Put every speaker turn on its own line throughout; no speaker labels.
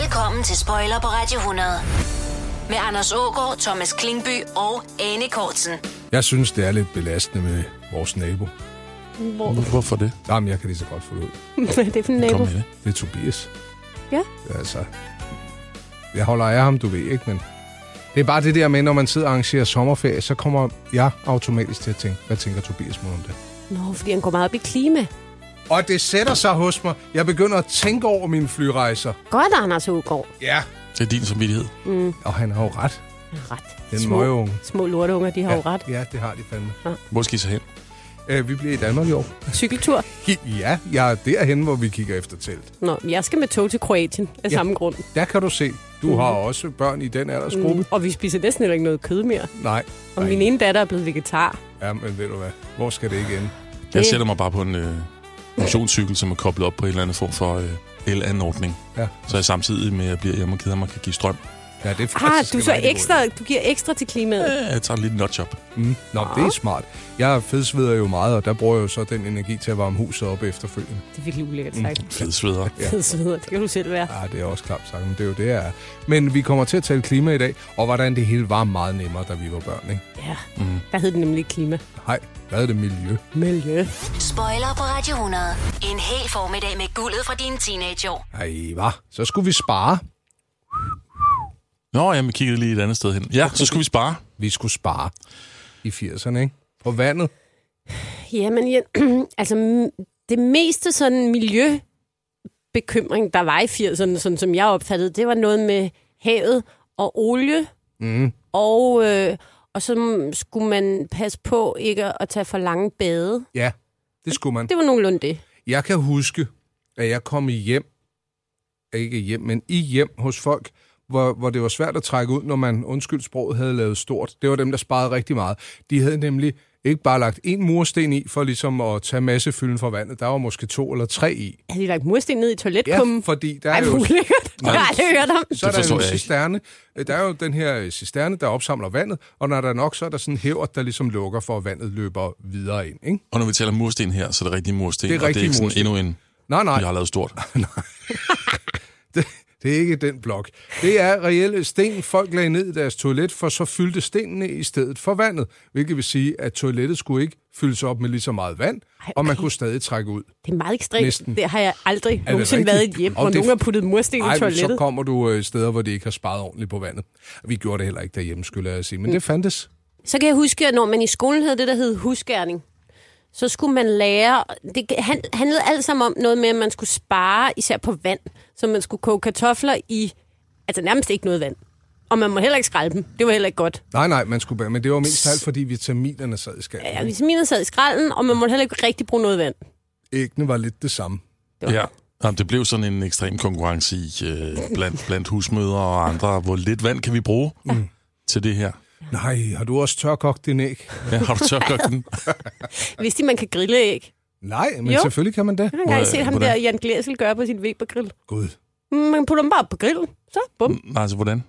Velkommen til Spoiler på Radio 100. Med Anders Ågaard, Thomas Klingby og Anne Kortsen.
Jeg synes, det er lidt belastende med vores nabo.
Hvor? Hvorfor det?
Jamen, jeg kan lige så godt få det ud.
Hvad er det for en nabo?
Kom med det.
Det er Tobias.
Ja.
Altså, jeg holder af ham, du ved ikke, men... Det er bare det der med, når man sidder og arrangerer sommerferie, så kommer jeg automatisk til at tænke, hvad tænker Tobias mon om det?
Nå, fordi han går meget op i klima.
Og det sætter sig hos mig. Jeg begynder at tænke over mine flyrejser.
Godt, Anders Ågaard.
Ja.
Det er din samvittighed.
Og han har jo ret.
Ret.
Den
små,
møgeunge.
små lorteunger, de har ja. jo ret.
Ja, det har de fandme.
Hvor skal I så hen?
Øh, vi bliver i Danmark i år.
Cykeltur.
Ja, jeg er derhen, hvor vi kigger efter telt.
Nå, jeg skal med tog til Kroatien af
Ja.
ja. samme grund.
Der kan du se,
Mhm.
du har også børn i den aldersgruppe.
Mm. Og vi spiser næsten heller ikke noget kød mere.
Nej.
Og
nej.
min e- ene datter er blevet vegetar.
Ja, men ved du hvad? Hvor skal det ikke ende?
Jeg
Det-
sætter mig bare på en øh, motionscykel, som er koblet op på en eller anden form for øh, el-anordning.
Ja.
Så jeg samtidig med, at jeg bliver hjemme og keder mig, kan give strøm.
Ja, det er faktisk
Har Ah, du
en
så
rigtig god
ekstra, du giver ekstra til klimaet?
Ja, Jeg tager en lille notjob.
Mm. Nå, det er
Ah.
smart. Jeg fedsveder jo meget, og der bruger jeg jo så den energi til at varme huset op efterfølgende.
Det er virkelig ulækkert sagt. Mm.
Fed sveder.
Ja.
Det kan du selv være.
Ja, Ah, det er også klart sagt, men det er jo det, jeg er. Men vi kommer til at tale klima i dag, og hvordan det hele var meget nemmere, da vi var børn, ikke?
Ja, mm. der hed det nemlig klima.
Nej, hvad er det miljø?
Miljø.
Spoiler på Radio 100. En hel formiddag med guldet fra dine teenageår.
Ej, hva? Så skulle vi spare.
Nå, jamen, jeg kiggede lige et andet sted hen. Ja, så skulle vi spare.
Vi skulle spare i 80'erne, ikke? På vandet.
Jamen, jeg, altså, m- det meste sådan miljøbekymring, der var i 80'erne, sådan som jeg opfattede, det var noget med havet og olie. Mm.
Mhm.
Og, øh, og så skulle man passe på ikke at tage for lange bade.
Ja, det skulle man.
Det var nogenlunde det.
Jeg kan huske, at jeg kom i hjem, ikke hjem, men i hjem hos folk, hvor, hvor det var svært at trække ud, når man, undskyld sproget, havde lavet stort. Det var dem, der sparede rigtig meget. De havde nemlig ikke bare lagt en mursten i, for ligesom at tage massefylden fra vandet. Der var måske to eller tre i.
Havde de lagt mursten ned i
Ja,
toiletkummen?
fordi der
Ej,
er
hvor
jo...
ulækkert. Det har jeg aldrig hørt om.
Så er der
Det forstår
jo en
jeg ikke.
cisterne. Øh, Der er jo den her øh, cisterne, der opsamler vandet, og når der er nok, så er der sådan en hæver, der ligesom lukker for, at vandet løber videre ind. Ikke?
Og når vi taler mursten her, så er det rigtige mursten.
Det er
og det er
rigtige
ikke sådan
mursten.
endnu en,
Nej, nej.
jeg har lavet stort.
Det, det er ikke den blok. Det er reelle sten, folk lagde ned i deres toilet, for så fyldte stenene i stedet for vandet. Hvilket vil sige, at toilettet skulle ikke fyldes op med lige så meget vand,
Ej,
og man
okay.
kunne stadig trække ud.
Det er meget ekstremt.
Næsten.
Det har jeg aldrig
det
nogensinde
rigtigt?
været i et hjem,
Og
hvor
det-
nogen har puttet mursten i
Ej, men så
toilettet.
kommer du øh, steder, hvor de ikke har sparet ordentligt på vandet. Vi gjorde det heller ikke derhjemme, skulle jeg sige, men
Mm.
det fandtes.
Så kan jeg huske, at når man i skolen havde det, der hed husgærning, så skulle man lære... Det han- handlede alt sammen om noget med, at man skulle spare, især på vand. Så man skulle koge kartofler i... Altså nærmest ikke noget vand. Og man må heller ikke skralde dem. Det var heller ikke godt.
Nej, nej, man skulle bare, men det var mest alt, fordi vitaminerne sad i skallen.
Ja, vitaminer sad i skralden, og man måtte heller ikke rigtig bruge noget vand.
Æggene var lidt det samme.
Ja. Jamen, det blev sådan en ekstrem konkurrence i, øh, blandt, blandt husmødre og andre. Hvor lidt vand kan vi bruge mm. til det her?
Nej, har du også tørkogt din æg?
Ja, har du tørkogt den?
Hvis de man kan grille æg.
Nej, men
Jo.
selvfølgelig kan man det.
Jeg har engang
Hvor-
set ham
hvordan?
der, Jan Glæsel, gøre på sin Weber-grill.
Gud.
Mm, Man putter dem bare på grillen. Så, bum.
Nej, altså hvordan?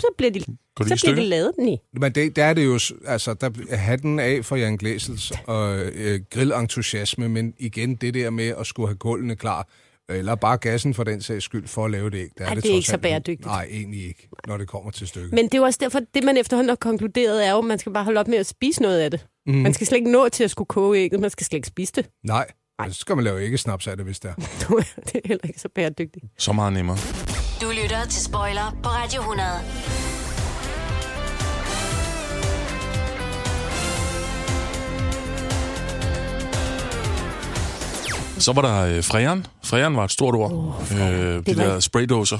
Så bliver de,
Går det i
så bliver de
stykker?
lavet. Nej.
Men det, der er det jo, s- altså, der er hatten af for Jan Glæsels og øh, grillentusiasme, men igen det der med at skulle have kullene klar, eller bare gassen for den sags skyld, for at lave det ikke. Der
Ej, det er
trods
ikke så
alt-
bæredygtigt.
Nej, egentlig ikke, når det kommer til stykket. Men...
Men det er jo også derfor, det man efterhånden har konkluderet, er jo, at man skal bare holde op med at spise noget af det. Mm. Man skal slet ikke nå til at skulle koge ægget, man skal slet ikke spise det.
Nej, så skal man lave ikke snaps af det, hvis der.
det er heller ikke så bæredygtigt.
Så meget nemmere.
Du lytter til Spoiler på Radio 100.
Så var der øh, fræren. Fræren var et stort ord. Oh, øh, de
Det var-
der spraydåser,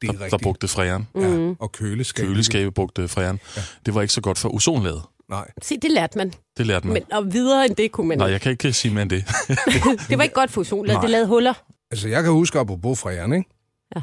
Det er
der, der brugte fræren.
Mm.
Ja, og køleskab.
Køleskabet brugte fræren. Ja. Det var ikke så godt for ozonlaget.
Nej,
Se, det lærte man.
Det lærte man.
Men, og videre end det kunne man
Nej,
ikke.
jeg kan ikke sige mere end det.
Det var ikke godt for ozonlaget,
Nej.
det lavede huller.
altså jeg kan huske apropos fra Jan, ikke?
Ja.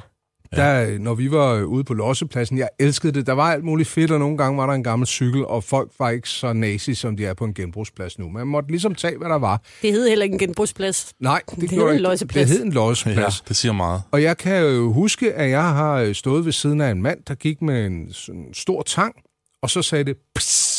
Der, øh, når vi var øh, ude på lossepladsen, jeg elskede det. Der var alt muligt fedt, og nogle gange var der en gammel cykel, og folk var ikke så nazi, som de er på en genbrugsplads nu. Man måtte ligesom tage, hvad der var.
Det hed heller ikke en genbrugsplads.
Nej, det,
hed
gjorde
en
ikke.
losseplads.
Det hed en
Ja,
losseplads. Ja.
det siger meget.
Og jeg kan jo huske, at jeg har øh, stået ved siden af en mand, der gik med en sådan stor tang, og så sagde det pss.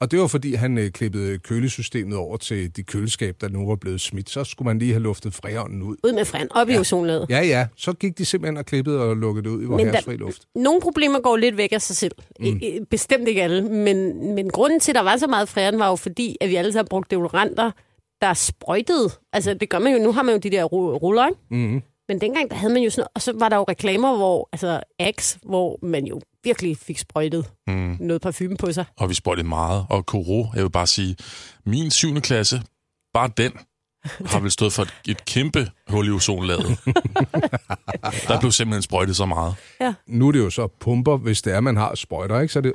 Og det var, fordi han øh, klippede kølesystemet over til de køleskab, der nu var blevet smidt. Så skulle man lige have luftet freånden ud.
Ud med fræn, op ja. i ozonlaget.
Ja, ja. Så gik de simpelthen og klippede og lukkede det ud i vores
Men der-
fri luft.
Nogle problemer går lidt væk af sig selv. Mm. Bestemt ikke alle. Men, men grunden til, at der var så meget fræren, var jo fordi, at vi alle sammen brugte deodoranter, der er sprøjtet. Altså, det gør man jo. Nu har man jo de der ru- ruller, ikke?
Mm-hmm.
Men dengang, der havde man jo sådan... Og så var der jo reklamer, hvor... Altså, Axe, hvor man jo virkelig fik sprøjtet
Mm.
noget parfume på sig.
Og vi sprøjtede meget. Og Koro, jeg vil bare sige, min 7. klasse, bare den, har vel stået for et, et kæmpe hul i ozonlaget. der blev simpelthen sprøjtet så meget.
Nu er det jo så pumper, hvis det er, man har sprøjter, ikke? Så er det...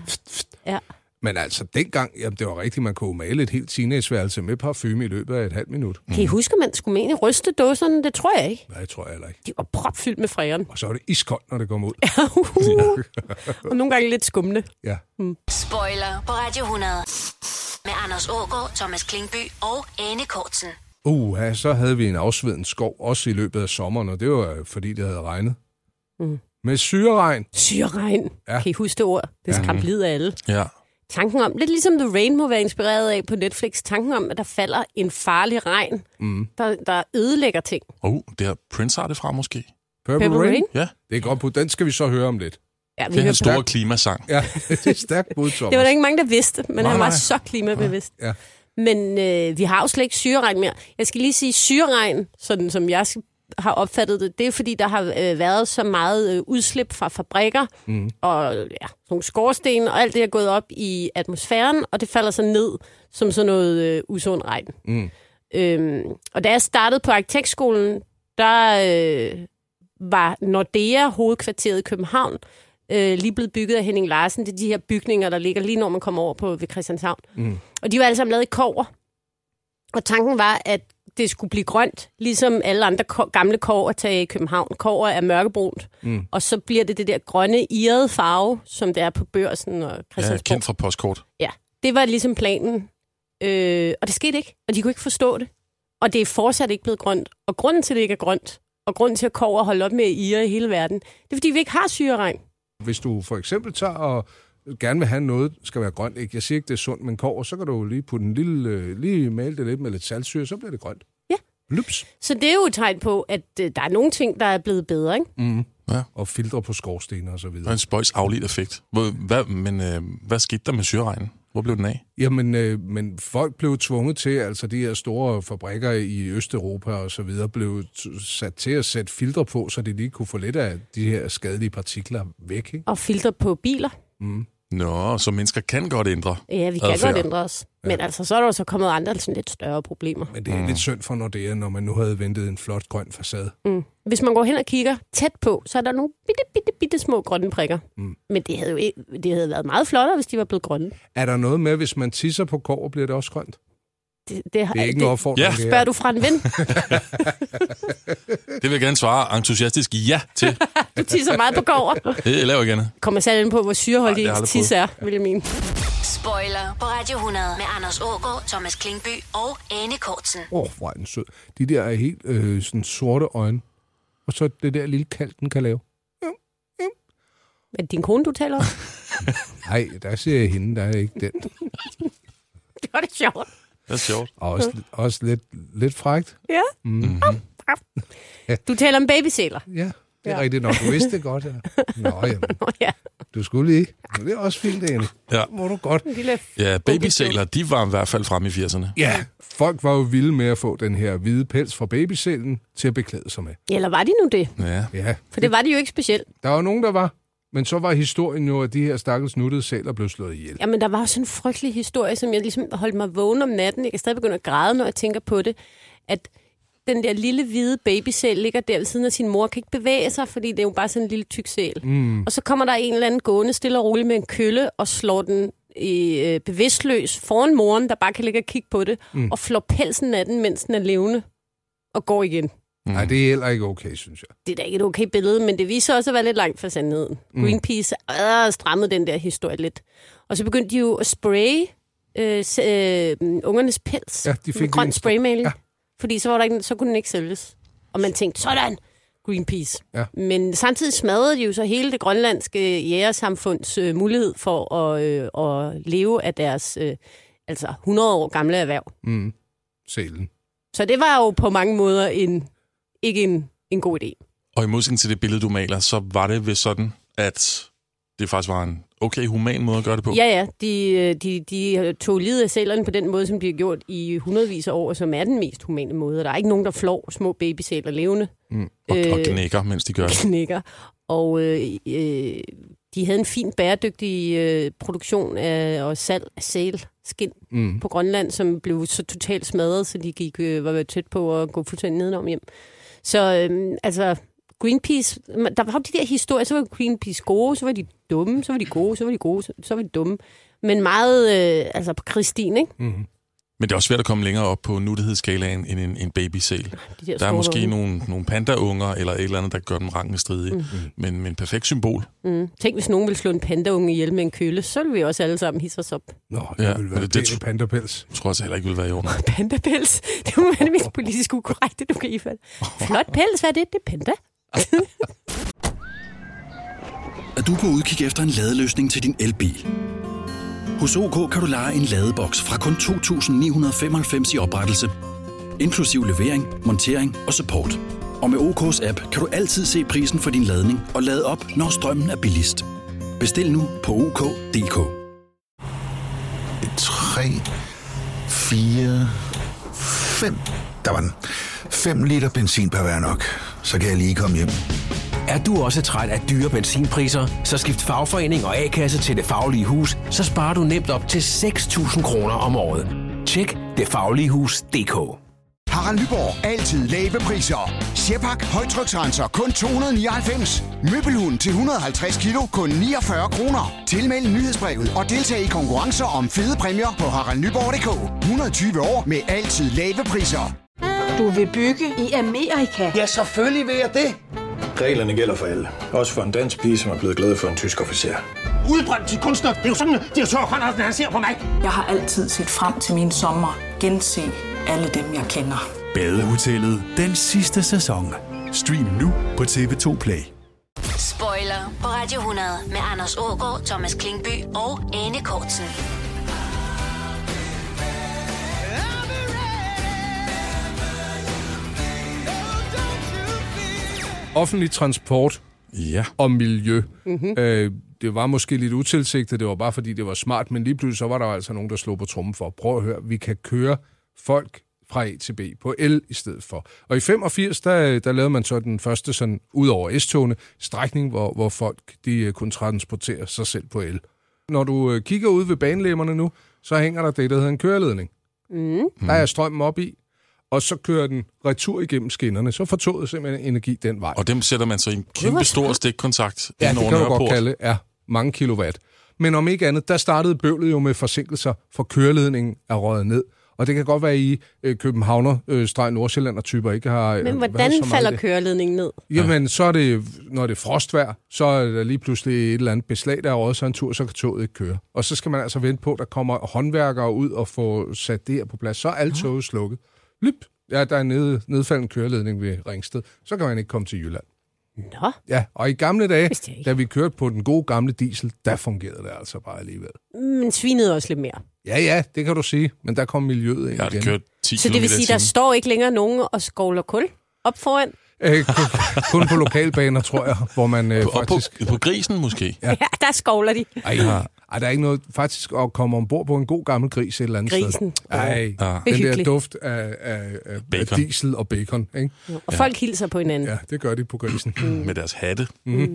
Ja.
Men altså, dengang, jamen, det var rigtigt, man kunne jo male et helt teenageværelse med parfume i løbet af et halvt minut.
Kan I huske, at man skulle mene ryste dåserne? Det tror jeg ikke.
Nej, tror jeg heller ikke.
De var propfyldt med fræren.
Og så er det iskoldt, når det kommer ud.
Uhuh. og nogle gange lidt skumne.
Ja.
Spoiler på Radio 100. Med Anders Ågaard, Thomas Klingby og Anne Kortsen.
Uha, så havde vi en afsvedet skov, også i løbet af sommeren, og det var øh, fordi, det havde regnet. Mm. Med syreregn.
Syreregn.
Ja.
Ja. Kan I huske det ord? Det skræmte livet af alle.
Ja.
Tanken om, lidt ligesom The Rain må være inspireret af på Netflix, tanken om, at der falder en farlig regn, mm. der, der ødelægger ting.
Oh, det har Prince har det fra måske.
Purple,
Purple
Rain.
Rain?
Rain.
Ja,
Det er godt på. Den skal vi så høre om lidt.
Ja, vi
det er
hørte-
hans store klimasang.
Ja, det er stærkt bud, Thomas.
det var der ikke mange, der vidste, men
Nej,
han var
nej.
så klimabevidst.
Ja.
Men øh, vi har jo slet ikke syreregn mere. Jeg skal lige sige, syreregn, sådan som jeg har opfattet det, det er fordi, der har øh, været så meget øh, udslip fra fabrikker
Mhm.
mm. og ja, nogle skorsten, og alt det er gået op i atmosfæren, og det falder så ned som sådan noget øh, usund regn.
Mm.
Øhm, og da jeg startede på arkitektskolen, der øh, var Nordea, hovedkvarteret i København, øh, lige blevet bygget af Henning Larsen. Det er de her bygninger, der ligger lige når man kommer over på ved Christianshavn.
Mm.
Og de var alle sammen lavet i kover. Og tanken var, at det skulle blive grønt, ligesom alle andre ko- gamle kover tager i København. Kover er mørkebrunt,
Mm.
og så bliver det det der grønne, irrede farve, som det er på børsen og
Ja,
Christiansborg.
kendt fra postkort.
Ja, det var ligesom planen. Øh, og det skete ikke, og de kunne ikke forstå det. Og det er fortsat ikke blevet grønt. Og grunden til, at det ikke er grønt, og grunden til, at kover holder op med at ire i hele verden, det er, fordi vi ikke har syreregn.
Hvis du for eksempel tager og gerne vil have noget, skal være grønt, ikke? Jeg siger ikke, det er sundt, men kover, så kan du jo lige putte en lille, øh, lige male det lidt med lidt saltsyre, så bliver det grønt.
Ja.
Lups.
Så det er jo et tegn på, at øh, der er nogle ting, der er blevet bedre. Ikke?
Og filtre på skorstene og så
Det var
videre.
en spøjs afledt effekt. Hvor, hvad, men øh, hvad skete der med syreregnen? Hvor blev den af?
Jamen, øh, men folk blev tvunget til, altså de her store fabrikker i Østeuropa og så videre, blev t- sat til at sætte filtre på, så de lige kunne få lidt af de her skadelige partikler væk, ikke?
Og filter på biler.
Nå, så mennesker kan godt ændre.
Ja, vi kan
Adfærd.
godt ændre os. Men altså, så er der jo så kommet andre sådan lidt større problemer.
Men det er lidt synd for Nordea, når man nu havde ventet en flot grøn facade.
Hvis man går hen og kigger tæt på, så er der nogle bitte, bitte, bitte små grønne prikker. Mm. Men det havde jo ikke, det havde været meget flottere, hvis de var blevet grønne.
Er der noget med, hvis man tisser på kover, bliver det også grønt?
Det, det, har-
Det er ikke en opfordring.
Ja.
det her.
Spørger du fra en ven?
Det vil jeg gerne svare entusiastisk ja til.
Du tisser meget på gård.
Det laver jeg gerne.
Kommer særlig ind på, hvor
Ej,
syreholdig
det har
ens
jeg aldrig
tis er, vil jeg mene.
Spoiler på Radio 100. Med Anders Ågaard, Thomas Klingby og Anne Kortsen.
Åh, oh, hvor er den sød. De der er helt øh, sådan sorte øjne. Og så det der lille kald, den kan lave.
Er det din kone, du taler om?
Nej, der ser jeg hende, der er ikke den.
Det var det sjovt.
Det er sjovt.
Og også, også lidt, lidt frægt.
Ja. Mm-hmm. Du taler om babysæler.
Ja, det er ja.
Ja.
rigtigt nok. Du vidste det godt, ja. Nå, jamen,
Nå ja,
du skulle lige. Men det er også fint, Anne.
Ja.
Må du godt.
en lille...
Ja, babysæler, de var i hvert fald fremme i 80'erne.
Ja, folk var jo vilde med at få den her hvide pels fra babysælen til at beklæde sig med.
Ja, Eller var de nu det?
Ja.
Ja,
For det var de jo ikke specielt.
der var nogen, der var. Men så var historien jo, at de her stakkels nuttede sæler blev slået ihjel.
Jamen, der var jo sådan en frygtelig historie, som jeg ligesom holdt mig vågen om natten. Jeg kan stadig begynde at græde, når jeg tænker på det. At den der lille hvide babysæl ligger der ved siden af sin mor, kan ikke bevæge sig, fordi det er jo bare sådan en lille tyk sæl. Mm. Og så kommer der en eller anden gående stille og roligt med en kølle og slår den i, øh, bevidstløs foran moren, der bare kan ligge og kigge på det, mm. og flår pelsen af den, mens den er levende, og går igen.
Mm.
Nej, det er heller ikke okay, synes jeg.
Det er da ikke et okay billede, men det viser også at være lidt langt fra sandheden. Mm. Greenpeace øh, strammede den der historie lidt. Og så begyndte de jo at spraye øh, s- øh, ungernes pels
Ja, de fik lige
med grøn
en sp-
spraymaling.
ja.
Ja. Fordi så, var der ikke, så kunne den ikke sælges. Og man tænkte, sådan, Greenpeace.
Ja.
Men samtidig smadrede de jo så hele det grønlandske jægersamfunds øh, mulighed for at, øh, at leve af deres øh, altså 100 år gamle erhverv.
Mm. Selen.
Så det var jo på mange måder en, ikke en, en god idé.
Og i modsætning til det billede, du maler, så var det ved sådan, at det faktisk var en okay human måde at gøre det på.
Ja, ja, de, øh, de, de tog livet af sælerne på den måde, som de har gjort i hundredvis af år, som er den mest humane måde. Og Der er ikke nogen, der flår små babysæler levende.
Mm.
Og, og
Øh,
knækker, mens de gør det.
knækker. Og øh, øh, de havde en fin bæredygtig øh, produktion af og salg af sælskind
Mm.
på Grønland, som blev så totalt smadret, så de gik, øh, var tæt på at gå fuldstændig nedenom hjem. Så øh, altså, Greenpeace, der var jo de der historier, så var Greenpeace gode, så var de dumme, så var de gode, så var de gode, så, så var de dumme. Men meget, øh, altså på Kristin, ikke?
Mm.
Men det er også svært at komme længere op på nuttighedsskalaen end en, en babysæl.
De der,
Der er
store
måske
unge.
nogle, nogle pandaunger eller et eller andet, der gør dem rangen stridige. Mm. Men, men perfekt symbol.
Mm. Tænk, hvis nogen ville slå en pandaunge ihjel med en kølle, så ville vi også alle sammen hisse os op.
Nå, det
Ja,
ja, ville
men
være
det-
det,
det
det,
tr-
pandapels.
Jeg tror altså heller ikke, vil være i orden.
pandapels. Det må være det mest politisk ukorrekte, du kan ifalde. Flot pels, hvad er det? Det er panda.
Er du på udkig efter en ladeløsning til din elbil? Hos OK kan du lege en ladeboks fra kun 2.995 i oprettelse, inklusiv levering, montering og support. Og med OK's app kan du altid se prisen for din ladning og lade op, når strømmen er billigst. Bestil nu på OK.dk.
3, 4, 5. Der var den. 5 liter benzin per hver nok. Så kan jeg lige komme hjem.
Er du også træt af dyre benzinpriser, så skift fagforening og A-kasse til Det Faglige Hus, så sparer du nemt op til 6.000 kroner om året. Tjek detfagligehus.dk.
Harald Nyborg. Altid lave priser. Sjehpak. Højtryksrenser. Kun 299. Møbelhund til 150 kilo. Kun 49 kroner. Tilmeld nyhedsbrevet og deltag i konkurrencer om fede præmier på haraldnyborg.dk. 120 år med altid lave priser.
Du vil bygge i Amerika?
Ja, selvfølgelig vil jeg det.
Reglerne gælder for alle. Også for en dansk pige, som er blevet glad for en tysk officer.
Udbrændt til kunstner. Det er jo sådan, at Mm, de har Conradsen, han ser på mig.
Jeg har altid set frem til min sommer. Gense alle dem, jeg kender.
Badehotellet den sidste sæson. Stream nu på TV2 Play.
Spoiler på Radio 100 med Anders Ågaard, Thomas Klingby og Anne Kortsen.
Offentlig transport
Ja.
og miljø. Mm-hmm. Øh, det var måske lidt utilsigtet, det var bare fordi, det var smart, men lige pludselig så var der jo altså nogen, der slog på trummen for. Prøv at høre, vi kan køre folk fra A til B på el i stedet for. Og i 85, der, der lavede man så den første, sådan, ud over S-togene, strækning, hvor, hvor folk de øh, kunne transportere sig selv på el. Når du øh, kigger ud ved banelemmerne nu, så hænger der det, der hedder en køreledning. Mm. Der er strømmen op i, og så kører den retur igennem skinnerne. Så får toget simpelthen energi den vej.
Og dem sætter man så i en kæmpe stor stikkontakt
Ja,
ind
det
over
kan du godt
Nørreport.
kalde ja, mange kilowatt. Men om ikke andet, der startede bøvlet jo med forsinkelser, for køreledningen er røget ned. Og det kan godt være, at I øh, københavner, øh, streg nordsjælland og typer ikke har... øh,
Men
været
hvordan
så meget i
falder
det.
køreledningen ned?
Jamen, så er det, når det er frostvær, så er der lige pludselig et eller andet beslag, der er røget, så er en tur, så kan toget ikke køre. Og så skal man altså vente på, at der kommer håndværkere ud og får sat det her på plads. Så er alle toget slukket. Lyp! Ja, der er en ned, nedfaldende køreledning ved Ringsted. Så kan man ikke komme til Jylland.
Nå,
Ja, og i gamle dage,
Vidste jeg ikke.
da vi kørte på den gode gamle diesel, der fungerede det altså bare alligevel.
men svinede også lidt mere. Ja,
Ja, ja, det kan du sige, men der kom miljøet ind
Jeg har
igen.
kørt 10
så det vil
kilometer i
sige, der
timen.
står ikke længere nogen og skovler kul op foran?
Æ, Øh, kun, kun på lokalbaner, tror jeg, hvor man øh,
Og på,
faktisk...
på grisen måske.
Ja, der skovler de.
Ej, ej, der er ikke noget faktisk at komme ombord på en god gammel gris et eller andet
Grisen.
sted. Ej,
Ja.
den der
Hyggeligt.
duft af, af, af, af
Bacon.
diesel og bacon, ikke?
Og folk hilser på hinanden.
Ja, det gør de på grisen.
Mhm.
Mhm.
Med deres hatte.
Ja,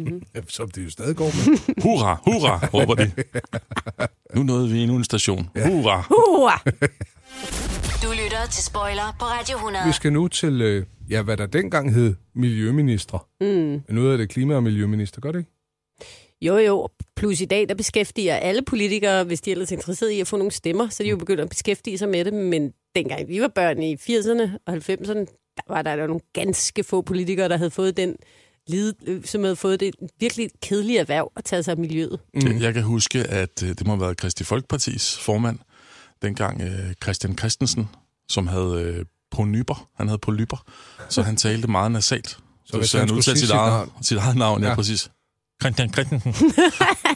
Som det jo stadig går med.
Hurra, hurra, råber de. Nu nåede vi endnu en station. Hurra.
Hurra!
Du lytter til Spoiler på Radio 100.
Vi skal nu til, øh, ja, hvad der dengang hed miljøminister. Mm. Nu hedder det klima- og miljøminister, gør det ikke?
Jo, jo. Plus i dag, der beskæftiger alle politikere, hvis de ellers er interesseret i at få nogle stemmer, så er de
Mm.
jo begyndt at beskæftige sig med det. Men dengang vi var børn i 80'erne og 90'erne, der var der jo nogle ganske få politikere, der havde fået den lide, øh, som havde fået det virkelig kedelige erhverv at tage sig af miljøet.
Jeg, jeg kan huske, at øh, det må have været Kristi Folkepartis formand, dengang øh, Christian Christensen, som havde øh, pronyper. Han havde polyper, så han talte meget nasalt. Så,
hvis
så
han
han
skulle
udtalte
sige
sit
sit
eget,
navn.
sit eget navn, ja,
Ja.
præcis. Christian Christensen.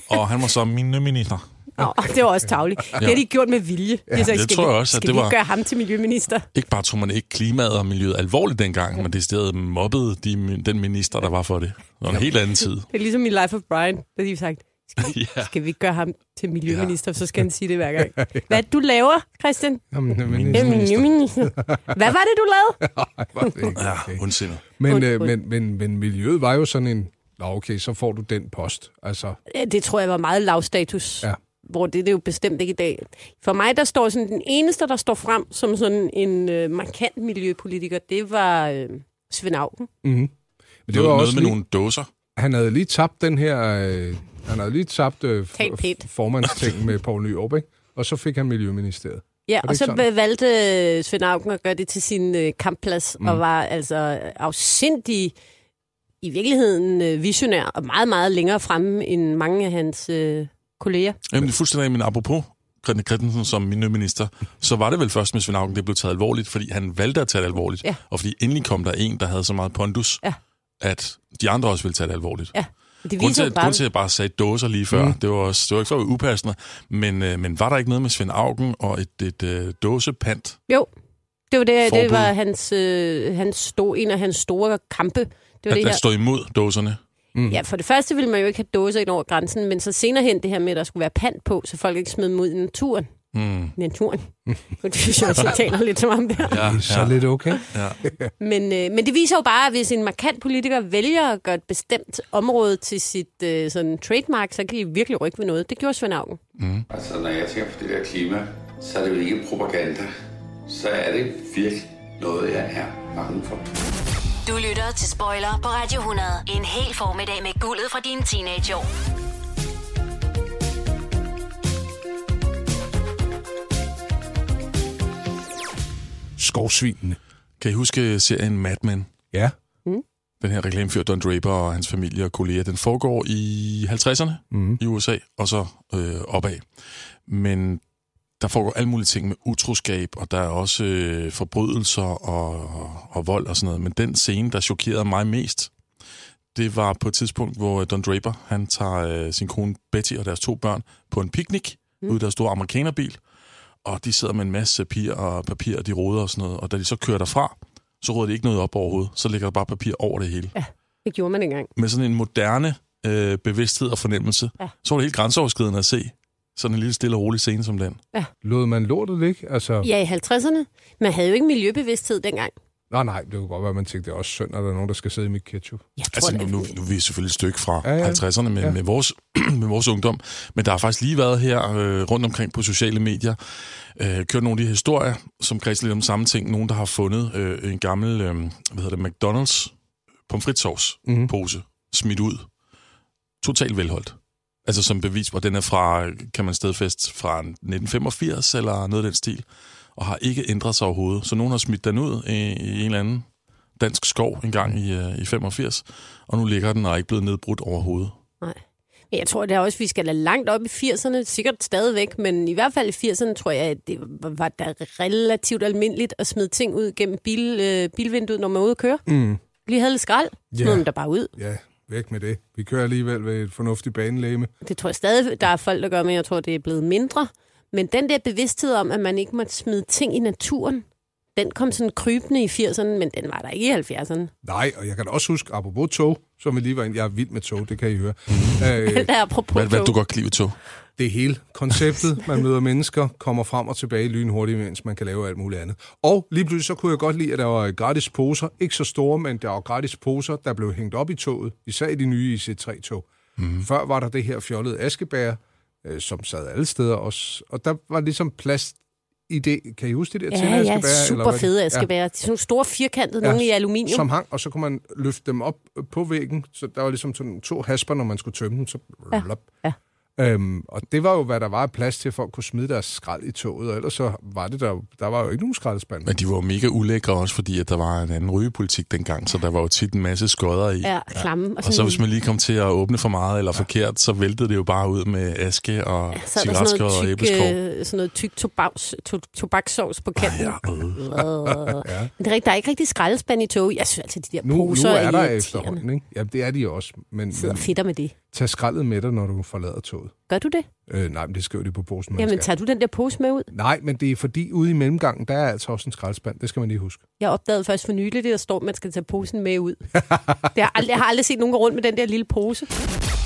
og han var så miljøminister.
Nå, det var også tavligt. Det har
Ja.
de gjort med vilje.
Ja,
De har sagt,
det
skal
tror jeg
vi-
også, at
skal
det
vi
var-
gøre ham til miljøminister?
Ikke bare tog man ikke klimaet og miljøet alvorligt dengang, men det stedet mobbede de, den minister, der var for det. Det var en helt anden tid.
Det er ligesom i Life of Brian, der de har sagt, skal vi,
Ja.
skal vi ikke gøre ham til miljøminister, så skal han sige det hver gang. Hvad er det, du laver, Christian?
Jamen, det
Jeg er miljøminister. Hvad var det, du lavede?
Ja, ondsindet.
Men,
Und-
øh,
und-
men, men, men miljøet var jo sådan en, nå okay, så får du den post. Altså,
Ja, Det tror jeg var meget lav status.
Ja.
Hvor det, det er jo bestemt ikke i dag. For mig, der står sådan, den eneste, der står frem som sådan en øh, markant miljøpolitiker, det var øh, Svend Auken.
mm-hmm. Men
Noget- noget med nogle dåser.
Han havde lige tabt den her... Øh, han havde lige tabt øh, f-
Tal pænt.
f- formandsting med Poul Nyrup, ikke? Og så fik han Miljøministeriet.
Ja,
Er det
og
ikke
så
sådan?
sådan? valgte Svend Auken at gøre det til sin øh, kampplads, mm. og var altså afsindig, i virkeligheden øh, visionær, og meget, meget længere fremme end mange af hans øh, kolleger.
Jamen, det er fuldstændig min apropos. Grete Christensen som miljøminister, så var det vel først med Svend Auken, det blev taget alvorligt, fordi han valgte at tage det alvorligt.
Ja.
Og fordi endelig kom der en, der havde så meget pondus,
Ja.
at de andre også ville tage det alvorligt.
Ja, det
Grunden til,
viser jo
at, grund til, at
bare...
jeg bare sagde dåser lige før, mm. det, var også, det var ikke for at være upassende, men, øh, men var der ikke noget med Svend Auken og et, et øh, dåsepant?
Jo, det var, det,
Forbud.
det var hans, øh, hans store, en af hans store kampe. Det var
At,
det her.
at stå imod dåserne? Mm.
Ja, for det første ville man jo ikke have dåser ind over grænsen, men så senere hen det her med, at der skulle være pant på, så folk ikke smed dem ud i naturen.
Mm.
Naturen. Det synes jeg også, jeg taler lidt som om der.
Ja,
Så lidt okay.
Ja.
Men, øh, men det viser jo bare, at hvis en markant politiker vælger at gøre et bestemt område til sit øh, sådan trademark, så kan de virkelig rykke ved noget. Det gjorde Svend Auken.
Mm. Altså, når jeg tænker på det der klima, så er det jo ikke propaganda. Så er det virkelig noget, jeg er bange for.
Du lytter til Spoiler på Radio 100. En hel formiddag med guldet fra dine teenageår.
Skovsvinene.
Kan I huske serien Mad Men?
Ja.
Mm.
Den her reklamefyr Don Draper og hans familie og kolleger, den foregår i 50'erne
Mm.
i USA, og så øh, opad. Men der foregår alle mulige ting med utroskab, og der er også øh, forbrydelser og, og vold og sådan noget. Men den scene, der chokerede mig mest, det var på et tidspunkt, hvor Don Draper, han tager øh, sin kone Betty og deres to børn på en picnic mm. ud i deres store amerikanerbil, og de sidder med en masse papir og papir, og de roder og sådan noget, og da de så kører derfra, så råder de ikke noget op overhovedet, så ligger der bare papir over det hele. Ja.
Det gjorde man engang.
Med sådan en moderne øh, bevidsthed og fornemmelse, ja. så var det helt grænseoverskridende at se sådan en lille stille og rolig scene som den.
Ja.
Lod man lortet ligge? Altså,
Ja, i 50'erne. Man havde jo ikke miljøbevidsthed dengang.
Nej, nej, det kunne godt være, man tænkte, det er også synd, at der er nogen, der skal sidde i mit ketchup.
Jeg
Altså, nu, nu, nu er vi selvfølgelig et stykke fra
Ja,
ja,
ja.
ja. 50'erne med,
Ja.
ja. med, vores, med vores ungdom, men der har faktisk lige været her øh, rundt omkring på sociale medier, øh, kørt nogle af de her historier, som kredser lidt om samme ting. Nogen, der har fundet øh, en gammel, øh, hvad hedder det, McDonald's pomfritsovs
Mhm.
pose smidt ud. Totalt velholdt. Altså som bevis, og den er fra, kan man stedfæste, fra 1985 eller noget af den stil, og har ikke ændret sig overhovedet. Så nogen har smidt den ud i, i en eller anden dansk skov engang i, øh, i 85, og nu ligger den og er ikke blevet nedbrudt overhovedet.
Nej. Men jeg tror da også, vi skal da langt op i 80'erne, sikkert stadigvæk, men i hvert fald i 80'erne tror jeg, at det var da relativt almindeligt at smide ting ud gennem bil, øh, bilvinduet, når man er ude at køre.
Mm.
Lige havde lidt skrald,
Ja.
smed yeah. dem der bare ud.
Ja, væk med det. Vi kører alligevel ved et fornuftigt banelæme.
Det tror jeg stadig, der er folk, der gør, men jeg tror, det er blevet mindre. Men den der bevidsthed om, at man ikke måtte smide ting i naturen, den kom sådan krybende i 80'erne, men den var der ikke i 70'erne.
Nej, og jeg kan da også huske, apropos tog, som vi lige var inde, jeg er vild med tog, det kan I høre. Øh,
Alt er apropos Hvad- hvad tog. du
godt kan lide tog?
Det hele. Konceptet, man møder mennesker, kommer frem og tilbage lynhurtigt, mens man kan lave alt muligt andet. Og lige pludselig så kunne jeg godt lide, at der var gratis poser. Ikke så store, men der var gratis poser, der blev hængt op i toget. Især i de nye IC3-tog. Mm. Før var der det her fjollede askebær, øh, som sad alle steder også. Og der var ligesom plads i det. Kan I huske det der
Ja,
tænder
ja, super fede
Ja.
askebær. Ja. De er sådan nogle store firkantede, ja. nogle i aluminium.
Som hang, og så kunne man løfte dem op øh, på væggen. Så der var ligesom sådan to hasper, når man skulle tømme dem. Så
Ja.
lop. Øhm, og det var jo, hvad der var af plads til, at folk kunne smide deres skrald i toget, og ellers så var det der, der var jo ikke nogen skraldespand.
Men de var jo mega ulækre også, fordi at der var en anden rygepolitik dengang, så der var jo tit en masse skodder i.
Ja, klamme. Og,
Og så hvis man lige kom til at åbne for meget eller forkert, så væltede det jo bare ud med aske og ja,
Så er der sådan
cigaretskodder og
noget tyk,
æbleskov.
øh, sådan noget tyk tobaks, to, tobakssovs på kanten. Ja,
Ja.
Men det er, rigtigt, der er ikke rigtig skraldespand i tog. Jeg synes altså, de der
Nu, nu
poser
er der Mm.
irriterende.
efterhånden, ikke? Ja, det er de også. Men,
Jeg sidder
men
og fedter med det.
Tag skraldet med dig, når du forlader toget.
Gør du det?
Øh, nej, men det skriver de på posen. man
Jamen,
skal.
tager du den der pose med ud?
Nej, men det er fordi, ude i mellemgangen, der er altså også en skraldespand. Det skal man lige huske.
Jeg opdagede først for nylig, det der står, at man skal tage posen med ud. det har jeg, aldrig, jeg har aldrig set nogen gå rundt med den der lille pose.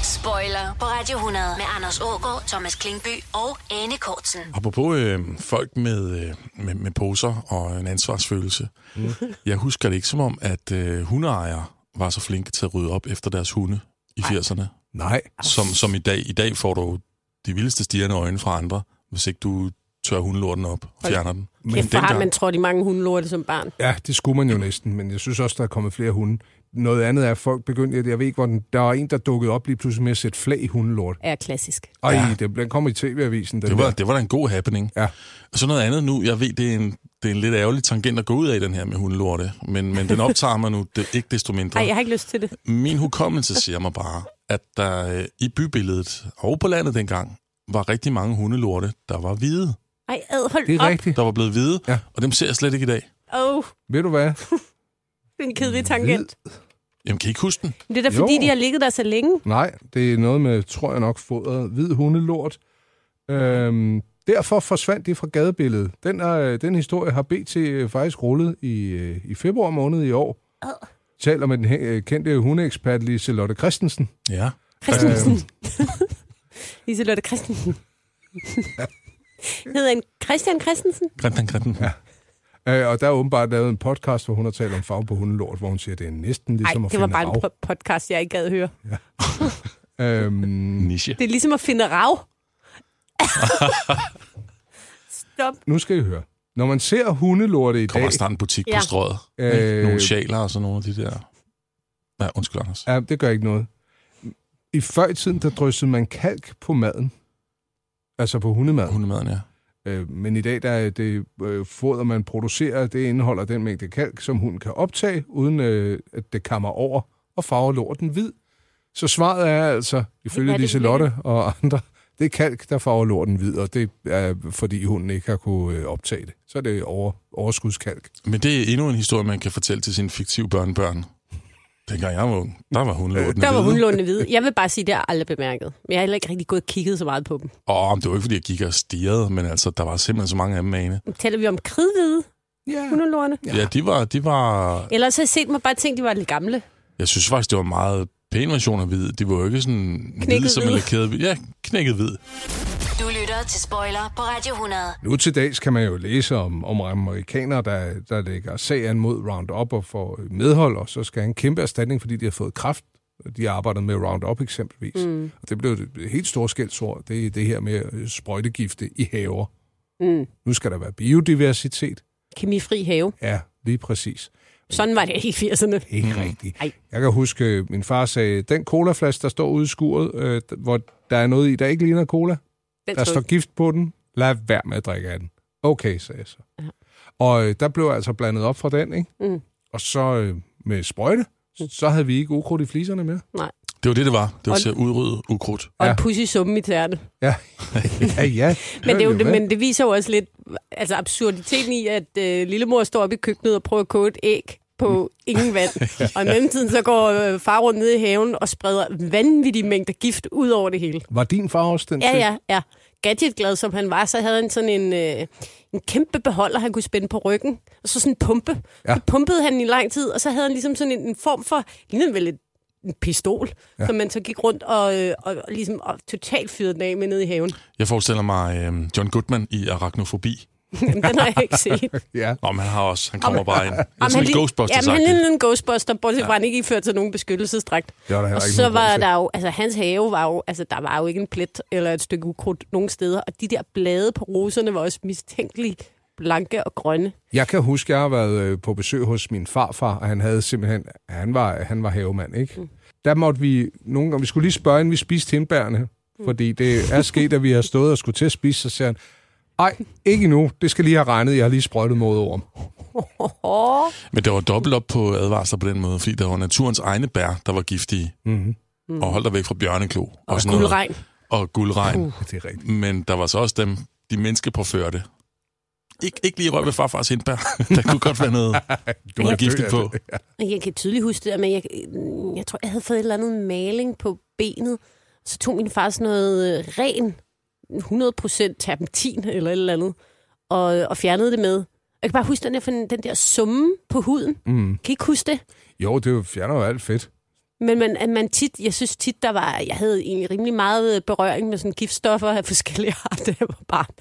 Spoiler på Radio 100 med Anders Ågaard, Thomas Klingby og Anne Kortsen.
Apropos øh, folk med, øh, med, med poser og en ansvarsfølelse.
Mm.
Mm. Jeg husker det ikke som om, at øh, hundeejere var så flinke til at rydde op efter deres hunde i 80'erne.
Nej.
Som, som i dag. I dag får du de vildeste stigende øjne fra andre, hvis ikke du tør hundelorten op og
Hold
fjerner den.
Men Kæft, hvor har man trådt i mange hundelorte som barn.
Ja, det skulle man jo næsten, men jeg synes også, der er kommet flere hunde. Noget andet er, at folk begyndte, at jeg ved ikke, hvor den, der var en, der dukkede op lige pludselig med at sætte flag i hundelort.
Er klassisk.
Ej, ja. det, den kom i tv-avisen. Den
Det var,
der.
det var da en god happening.
Ja.
Og så noget andet nu. Jeg ved, det er en, det er en lidt ærgerlig tangent at gå ud af, den her med hundelorte. Men, men den optager mig nu, det, ikke desto mindre.
Nej, jeg har ikke lyst til det.
Min hukommelse siger mig bare, at der øh, i bybilledet og på landet dengang, var rigtig mange hundelorte, der var hvide.
Ej, ad, hold op.
Der var blevet hvide, ja. og dem ser jeg slet ikke i dag.
Åh, oh,
Ved du hvad?
det er en kedelig tangent.
Jamen, kan I ikke huske den?
Men det er da fordi,
Mm. Jo.
de har ligget der så længe.
Nej, det er noget med, tror jeg nok, fodret hvid hundelort. Øhm, derfor forsvandt de fra gadebilledet. Den, er, den historie har BT faktisk rullet i, øh, i februar måned i år. Taler med den he- øh, kendte hundeekspert Liselotte Christensen.
Ja.
Christensen.
Øh.
Liselotte Christensen. Hedder en Christian Christensen?
Grinten, grinten.
Ja. Øh, og der er åbenbart lavet en podcast, hvor hun har talt om farve på hundelort, hvor hun siger, at det er næsten
Nej,
ligesom Ej, at
det var
finde
bare en
rav.
po- podcast, jeg ikke gad høre.
Øhm, Niche.
Det er ligesom at finde rav. Stop.
Nu skal I høre. Når man ser hundelorte i
Kommer der
dag...
snart en butik
Ja.
på strøget?
Øh,
Øh... Nogle sjaler og sådan nogle af de der... Ja, undskyld, Anders.
Ja, det gør ikke noget. I før i tiden, der dryssede man kalk på maden. Altså på hundemaden.
Hundemaden, ja.
Øh, men i dag, der er det øh, foder, man producerer, det indeholder den mængde kalk, som hunden kan optage, uden øh, at det kammer over og farver lorten hvid. Så svaret er altså,
Hvad
ifølge
er det,
Liselotte og andre, det er kalk, der farver lorten hvid, og det er, fordi hunden ikke har kunne øh, optage det. Så er det over, overskudskalk.
Men det er endnu en historie, man kan fortælle til sine fiktive børnebørn. Dengang jeg var ung, der var hundelorten
Øh, Der var
hvide.
hundelånene hvide. Jeg vil bare sige, det har jeg aldrig bemærket. Men jeg har heller ikke rigtig gået og kigget så meget på dem.
Åh, men det var ikke, fordi jeg gik og stirrede, men altså, der var simpelthen så mange af dem, Ane.
Nu Taler vi om kridhvide?
Ja.
Hundelårene?
Ja, ja de, var, de var...
Ellers har jeg set mig bare tænkt, de var lidt gamle.
Jeg synes faktisk, det var en meget pæn version af hvid. De var jo ikke sådan hvide
Knækket
som en
hvid.
lakeret hvid. Ja, knækket hvid.
Du lytter til Spoiler på Radio 100.
Nu til dags kan man jo læse om, om amerikanere, der, der lægger sagen mod Roundup og får medhold, og så skal han kæmpe erstatning, fordi de har fået kraft. De arbejder med Roundup eksempelvis.
Mm.
Mm. Og det blev et helt stort skældsord, det er det her med øh, sprøjtegifte i haver.
Mm.
Nu skal der være biodiversitet.
Kemifri have.
Ja, lige præcis.
Sådan var det ikke i 80'erne.
Ikke mm. rigtigt. Jeg kan huske, øh, min far sagde, den colaflaske, der står ude i skuret, øh, d- hvor der er noget i, der ikke ligner cola,
Den
der
tror
står
jeg.
gift på den, lad være med at drikke af den. Okay, sagde jeg så. Og øh, der blev jeg altså blandet op fra den, ikke?
Mm.
Og så øh, med sprøjte, så havde vi ikke ukrudt i fliserne mere.
Nej.
Det var det, det var. Det var
Og-
til at udrydde ukrudt.
Og ja. en pussy summe i tæerne.
Ja. ja, ja.
Men det, er jo det,
med.
men det viser jo også lidt altså absurditeten i, at øh, lillemor står op i køkkenet og prøver at koge et æg på ingen vand. Og i mellemtiden så går øh, far rundt ned i haven og spreder vanvittige mængder gift ud over det hele.
Var din far også den
Ja,
type?
ja, ja. Gadgetglad som han var, så havde han sådan en, øh, en kæmpe beholder, han kunne spænde på ryggen. Og så sådan en pumpe. Ja.
Ja.
Så pumpede han i lang tid, og så havde han ligesom sådan en, en form for, lignede vel et, en pistol, ja.
Ja.
som man så gik rundt og, øh, og, og ligesom og totalt fyrede den af med nede i haven.
Jeg forestiller mig øh, John Goodman i Arachnofobi.
Jamen, den har jeg ikke set.
ja.
Nå, men han har også. Han kommer bare ind. Det er
Jamen,
sådan
han
en
lig-
ghostbuster
Jamen, han
sagt.
lignede en ghostbuster, bortset fra, at han ikke iførte sig nogen beskyttelsesdragt.
Det var der heller
Og
ikke
så
nogen
var
grund til.
der jo, altså hans have var jo, altså der var jo ikke en plet eller et stykke ukrudt nogen steder, og de der blade på roserne var også mistænkeligt blanke og grønne.
Jeg kan huske, jeg har været øh, på besøg hos min farfar, og han havde simpelthen, han var, han var havemand, ikke? Mm. Der måtte vi nogle gange, vi skulle lige spørge, inden vi spiste hindbærene, fordi det er sket, at vi har stået og skulle til at spise, så siger han, ej, ikke endnu, det skal lige have regnet, jeg har lige sprøjtet mod over ham.
Åh,
Men der var dobbelt op på advarsler på den måde, fordi der var naturens egne bær, der var giftige.
Mm-hmm.
Mm.
Og holdt dig væk fra bjørneklo. Og, sådan noget.
guldregn. Mm.
Og guldregn.
Uh, det er rigtigt.
Men der var så også dem, de menneskepåførte. Ik- ikke lige røg ved farfars hindbær. der kunne godt være noget, du var giftig
dø af
på.
Og Jeg kan tydeligt huske det, men jeg, mm, jeg tror, jeg havde fået et eller andet maling på benet, Så tog min far sådan noget øh, ren, 100% terpentin eller et eller andet, og, og fjernede det med. Jeg kan bare huske den der, den der summe på huden.
Mm.
Kan I ikke huske det?
Jo, det er jo- fjerner jo alt fedt.
Men man, at man tit, jeg synes tit, der var, jeg havde egentlig rimelig meget øh, berøring med sådan giftstoffer af forskellige arter, da jeg var barn.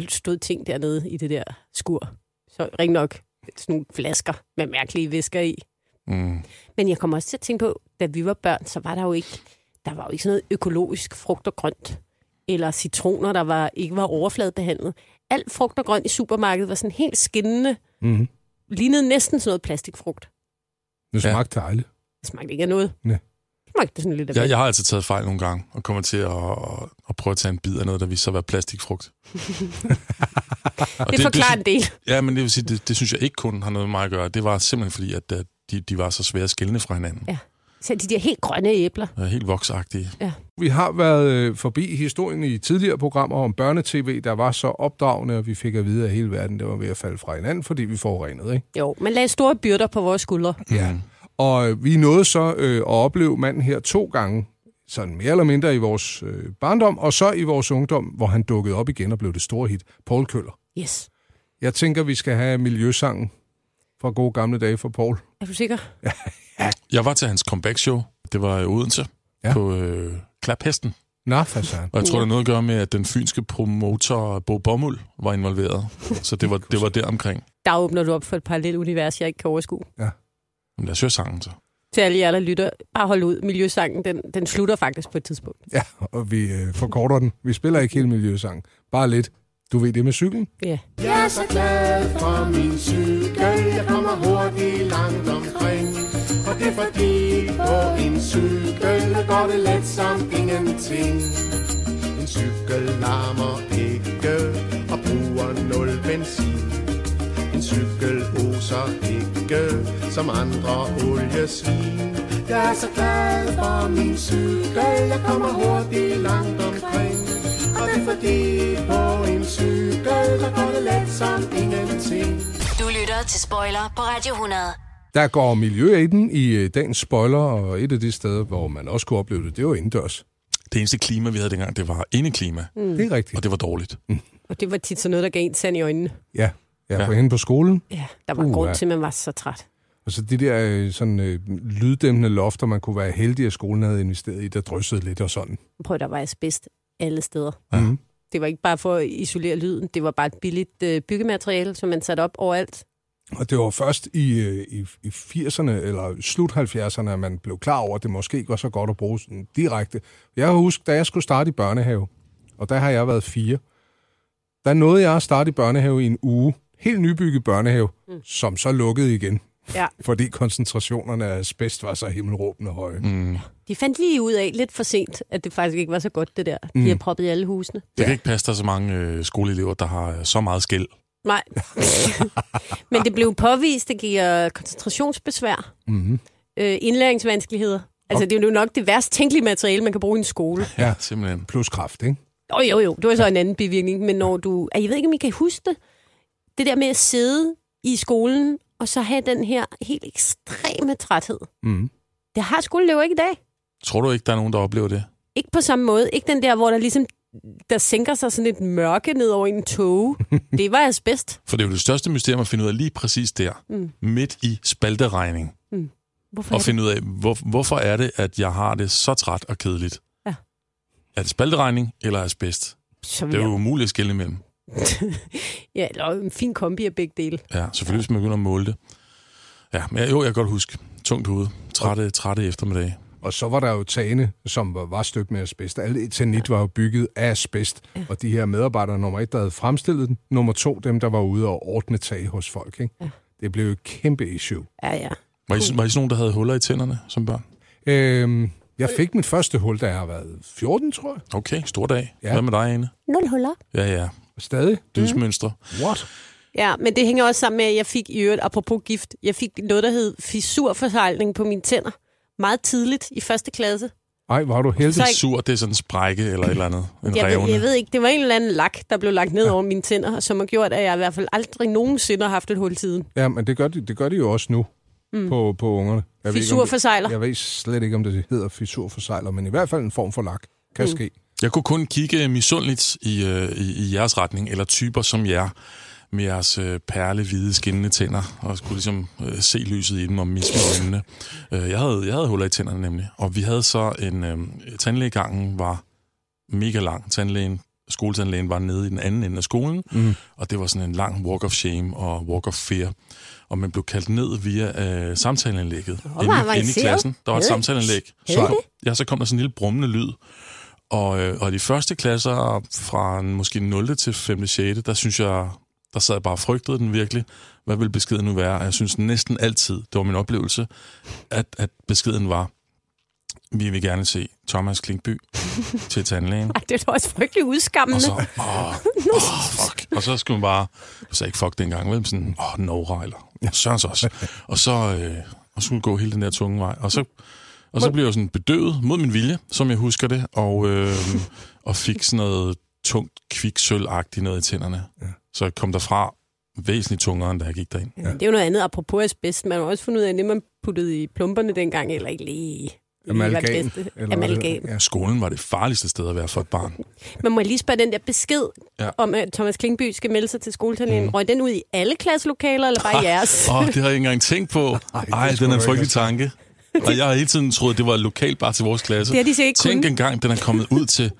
Der stod ting dernede i det der skur. Så ring nok sådan nogle flasker med mærkelige væsker i.
Mm.
Men jeg kommer også til at tænke på, da vi var børn, så var der jo ikke, der var jo ikke sådan noget økologisk frugt og grønt. Eller citroner, der var, ikke var overfladebehandlet. Alt frugt og grønt i supermarkedet var sådan helt skinnende.
Mm-hmm.
Lignede næsten sådan noget plastikfrugt.
Det smagte ja. dejligt.
Det smagte ikke af noget.
Nej.
Det smagte sådan lidt af
Jeg, jeg har altid taget fejl nogle gange, og kommer til at, at, at prøve at tage en bid af noget, der viser sig at være plastikfrugt. Og
det forklarer en del.
Ja, men det vil sige, det, det synes jeg ikke kun har noget med mig at gøre. Det var simpelthen fordi, at øh, de, de var så svære at skille fra hinanden.
Så de der helt grønne æbler.
Øh, Helt voksagtige.
Vi har været øh, forbi historien i tidligere programmer om børnetv, der var så opdragende, at vi fik at vide, at hele verden der var ved at falde fra hinanden, fordi vi forurenede, ikke?
Jo, man lagde store byrder på vores skuldre.
Ja. Og øh, vi nåede så øh, at opleve manden her to gange, sådan mere eller mindre i vores øh, barndom, og så i vores ungdom, hvor han dukkede op igen og blev det store hit, Paul Køller.
Yes.
Jeg tænker, vi skal have miljøsangen fra gode gamle dage for Paul.
Er du sikker?
Jeg var til hans comeback-show. Det var i Odense ja. på øh, Klaphesten.
Nå, for søren.
Og jeg tror, der er noget at gøre med, at den fynske promotor Bo Bommel var involveret. Så det var, det var der omkring.
Der åbner du op for et parallelt univers, jeg ikke kan overskue.
Men lad os høre sangen så.
Til alle jer, der lytter, bare hold ud. Miljøsangen, den, den slutter faktisk på et tidspunkt.
Ja, og vi øh, forkorter den. Vi spiller ikke hele miljøsangen. Bare lidt. Du ved det med cyklen?
Ja.
Jeg er så glad for min cykel, jeg kommer hurtigt langt omkring. Og det er fordi på en cykel, der går det let som ingenting. En cykel larmer ikke og bruger nul benzin. En cykel oser ikke som andre oliesvin. Jeg er så glad for min cykel, jeg kommer hurtigt langt omkring. Og det er fordi på en cykel, der går det let som ingenting.
Du lytter til Spoiler på Radio 100.
Der går miljø i den i øh, dagens spoiler, og et af de steder, hvor man også kunne opleve det, det var indendørs.
Det eneste klima, vi havde dengang, det var indeklima.
Mm. Det
Det er rigtigt.
Og det var dårligt.
Og det var tit sådan noget, der gav en sand i øjnene.
Ja, ja, ja. for hende på skolen.
Ja, der var
Uh,
uh, grund
ja.
til, at man var så træt.
Og så de der øh, sådan, øh, lyddæmmende lofter, man kunne være heldig, at skolen havde investeret i, der dryssede lidt og sådan.
Prøv, der var asbest alle steder.
Mm.
Det var ikke bare for at isolere lyden, det var bare et billigt øh, byggemateriale, som man satte op overalt.
Og det var først i, øh, i, i 80'erne, eller slut 70'erne, at man blev klar over, at det måske ikke var så godt at bruge sådan direkte. Jeg kan huske, da jeg skulle starte i børnehave, og der har jeg været fire, der nåede jeg at starte i børnehave i en uge. Helt nybygget børnehave, mm. som så lukkede igen.
Ja.
Fordi koncentrationerne af asbest var så himmelråbende høje. Mm.
De fandt lige ud af lidt for sent, at det faktisk ikke var så godt, det der. De
Mm.
har proppet i alle husene.
Det kan ikke passe, der er så mange øh, skoleelever, der har øh, så meget skæld.
Nej. Men det blev påvist, det giver koncentrationsbesvær,
Mm-hmm.
øh, indlæringsvanskeligheder. Altså, det er jo nok det værst tænkelige materiale, man kan bruge i en skole.
Ja, simpelthen.
Plus kraft, ikke?
Jo, jo, jo. Det var så en anden bivirkning. Men når du... Ah, Jeg ved ikke, om I kan huske det. Det der med at sidde i skolen, og så have den her helt ekstreme træthed.
Mm.
Det har skoleelever ikke i dag.
Tror du ikke, der er nogen, der oplever det?
Ikke på samme måde. Ikke den der, hvor der ligesom der sænker sig sådan et mørke ned over en tåge. Det var asbest.
For det er jo det største mysterium at finde ud af lige præcis der.
Mm.
Midt i spalteregning.
Mm. Hvorfor
Og
er det?
finde ud af, hvor, hvorfor er det, at jeg har det så træt og kedeligt?
Ja.
Er det spalteregning eller asbest?
Så
Det er jo umuligt at skille imellem.
ja, eller en fin kombi af begge dele.
Ja, selvfølgelig, hvis man begynder at måle det. Ja, men jeg- jo, jeg kan godt huske. Tungt hoved. Trætte, trætte eftermiddage.
Og så var der jo tagene, som var, var støbt med asbest. Alt eternit var jo bygget af asbest. Og de her medarbejdere, nummer et, der havde fremstillet den. Nummer to, dem, der var ude og ordne tag hos folk. Ikke? Det blev jo et kæmpe issue.
Ja, ja.
Var I, var I sådan nogen, der havde huller i tænderne som børn?
Øhm, jeg fik mit første hul, da jeg har været 14, tror jeg.
Okay, stor dag. Ja. Mm. Hvad med dig, Ane?
Nul huller.
Ja, ja.
Stadig?
Dødsmønstre.
What?
Ja, men det hænger også sammen med, at jeg fik i øvrigt, apropos gift, jeg fik noget, der hed fissurforsejling på mine tænder. Meget tidligt i første klasse.
Ej, var du heldig.
Så
Så
ikke-
sur, det er sådan en sprække eller et eller andet. En
Jeg ved,
revne.
jeg ved ikke, det var en eller anden lak, der blev lagt ned over mine tænder, som har gjort, at jeg i hvert fald aldrig nogensinde har haft et hul i tiden.
Ja, men det gør de, det gør de jo også nu mm. på, på ungerne. Jeg ved ikke, om det-
Fissurforsejler.
Jeg ved slet ikke, om det hedder fissurforsejler, men i hvert fald en form for lak. kan mm. ske.
Jeg kunne kun kigge misundeligt i, øh, i, i jeres retning, eller typer som jer, med jeres øh, perlehvide skinnende tænder, og skulle ligesom øh, se lyset i dem og miste med øjnene. Øh, jeg, havde, jeg havde huller i tænderne nemlig, og vi havde så en... Øh, tandlægegangen var mega lang. Tandlægen, skoletandlægen var nede i den anden ende af skolen,
Mm.
og det var sådan en lang walk of shame og walk of fear. Og man blev kaldt ned via øh, samtaleanlægget
hvor
inde, inde i
avanceret.
klassen. Der var et
Hed-
samtaleanlæg.
hed
Så,
det?
ja, så kom der sådan en lille brummende lyd. Og, øh, og de første klasser fra en- måske 0. til 5. 6., der synes jeg, der sad jeg bare og frygtede den virkelig. Hvad ville beskeden nu være? Og jeg synes næsten altid, det var min oplevelse, at, at beskeden var, vi vil gerne se Thomas Klinkby til tandlægen.
Ej, det er da også frygtelig udskammende.
Og så, åh, åh, fuck. Og så skulle man bare, jeg sagde ikke fuck dengang, vel? Men Sådan, åh, Nora eller Sørens også. Og så, øh, og så skulle gå hele den der tunge vej. Og så, og så blev jeg sådan bedøvet mod min vilje, som jeg husker det, og, øh, og fik sådan noget tungt kviksølvagtigt noget i tænderne. Så jeg kom derfra væsentligt tungere, end da jeg gik derind.
Ja. Det er jo noget andet. Apropos asbest, man har også fundet ud af, at det, man puttede i plumperne dengang, eller ikke lige... lige var det bedste. Amalgam.
Ja. Skolen var det farligste sted at være for et barn.
Man må lige spørge den der besked
Ja.
ja. om, at Thomas Klingby skal melde sig til skoletandlægen. Mm. Røg den ud i alle klasselokaler, eller
Ah,
bare i jeres?
Åh, det har jeg ikke engang tænkt på. Ej,
det
den er
skulle
en frygtelig tanke. Og jeg har hele tiden troet, det var lokalt bare til vores klasse.
Det har de sikkert ikke
Tænk
kunnet.
engang, den er kommet ud til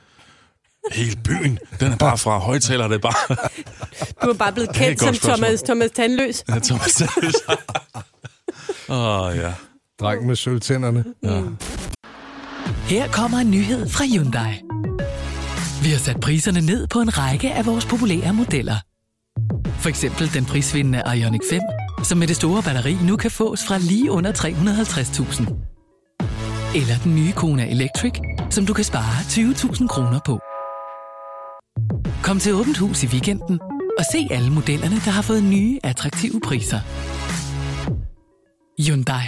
hele byen. Den er bare fra højtaler, det er bare...
Du er bare blevet
Det er et
kendt som
godt spørgsmål.
Thomas, Thomas Tandløs.
Ja, Thomas Davis. Åh, oh, ja.
Dreng med sølvtænderne. Ja.
Her kommer en nyhed fra Hyundai. Vi har sat priserne ned på en række af vores populære modeller. For eksempel den prisvindende Ioniq 5, som med det store batteri nu kan fås fra lige under 350.000. Eller den nye Kona Electric, som du kan spare 20.000 kroner på. Kom til Åbent Hus i weekenden og se alle modellerne, der har fået nye, attraktive priser. Hyundai.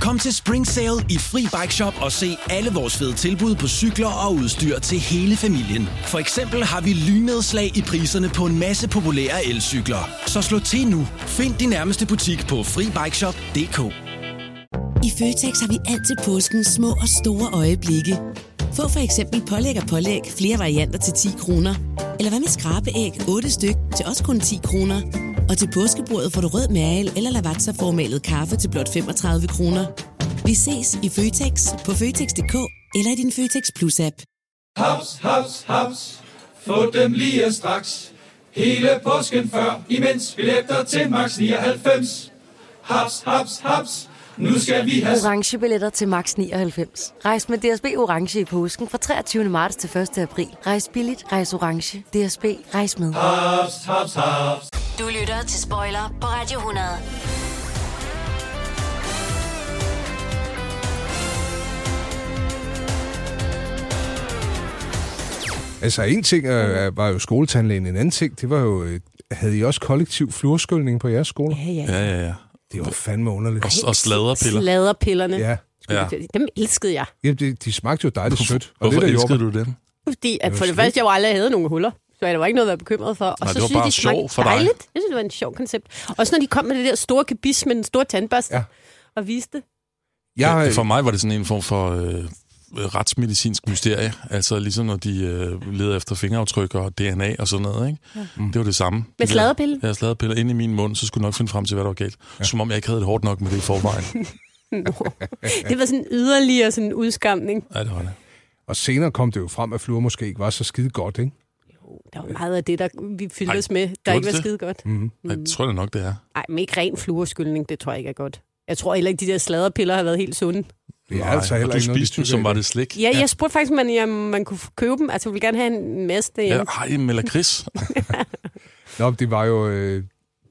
Kom til Spring Sale i Fri Bike Shop og se alle vores fede tilbud på cykler og udstyr til hele familien. For eksempel har vi lynedslag i priserne på en masse populære elcykler. Så slå til nu. Find din nærmeste butik på FriBikeShop.dk
I Føtex har vi alt til påsken små og store øjeblikke. Få for eksempel pålæg og pålæg flere varianter til 10 kroner. Eller hvad med skrabeæg 8 styk til også kun 10 kroner. Og til påskebordet får du rød mal eller lavatserformalet kaffe til blot 35 kroner. Vi ses i Føtex på Føtex.dk eller i din Føtex Plus-app.
Haps, haps, haps. Få dem lige straks. Hele påsken før, imens billetter til max 99. Haps, haps, haps. Nu skal vi have...
orange billetter til max 99. Rejs med DSB orange i påsken fra 23. marts til 1. april. Rejs billigt, rejs orange. DSB rejs med.
Haps, haps, haps.
Du lytter til Spoiler på Radio 100.
Altså, en ting øh, var jo skoletandlægen, en anden ting, det var jo... Øh, havde I også kollektiv fluorskyldning på jeres skole? Ja,
ja.
Ja, ja, ja.
Det var fandme underligt.
Og, og sladderpiller.
Sladerpillerne.
Ja.
Ja. Dem elskede jeg.
Jamen, de, de smagte jo dejligt sødt.
Hvorfor
der
elskede
gjorde-
du dem?
Fordi at
var
for det
slut.
første, jeg jo aldrig havde nogen huller. Så der var ikke noget at være bekymret for. Og
Nej,
så
det var
synes jeg,
bare
de smagte
sjov for dig.
Dejligt. Jeg synes, det var en sjov koncept. Også når de kom med det der store gebis med den store tandbørste ja. og viste det.
Jeg, for mig var det sådan en form for øh, retsmedicinsk mysterie. Altså ligesom når de øh, leder efter fingeraftryk og DNA og sådan noget. Ikke?
Ja.
Ja. Det var det samme.
Med sladderpille?
Ja, sladderpille ind i min mund, så skulle jeg nok finde frem til, hvad der var galt. Ja. Som om jeg ikke havde det hårdt nok med det i forvejen.
Det var sådan en yderligere sådan en udskamning.
Ja, det var det.
Og senere kom det jo frem, at fluor måske ikke var så skide godt, ikke?
Der var meget af det, der vi fyldte
Ej,
os med, der
gjorde det
ikke var
det?
skide godt.
Mhm.
Jeg tror det nok, det er.
Ej, men ikke ren fluorskyldning, det tror jeg ikke er godt. Jeg tror heller ikke, de der sladderpiller har været helt sunde.
Det er
Nej,
altså heller
og du
ikke noget, de
spiste dem,
tykker
som
i.
var det slik.
Ja, jeg spurgte faktisk, om man, ja, man kunne købe dem. Altså, jeg ville gerne have en masse derhjemme.
Ja, ej, med lakrids.
Nå, det var jo, øh,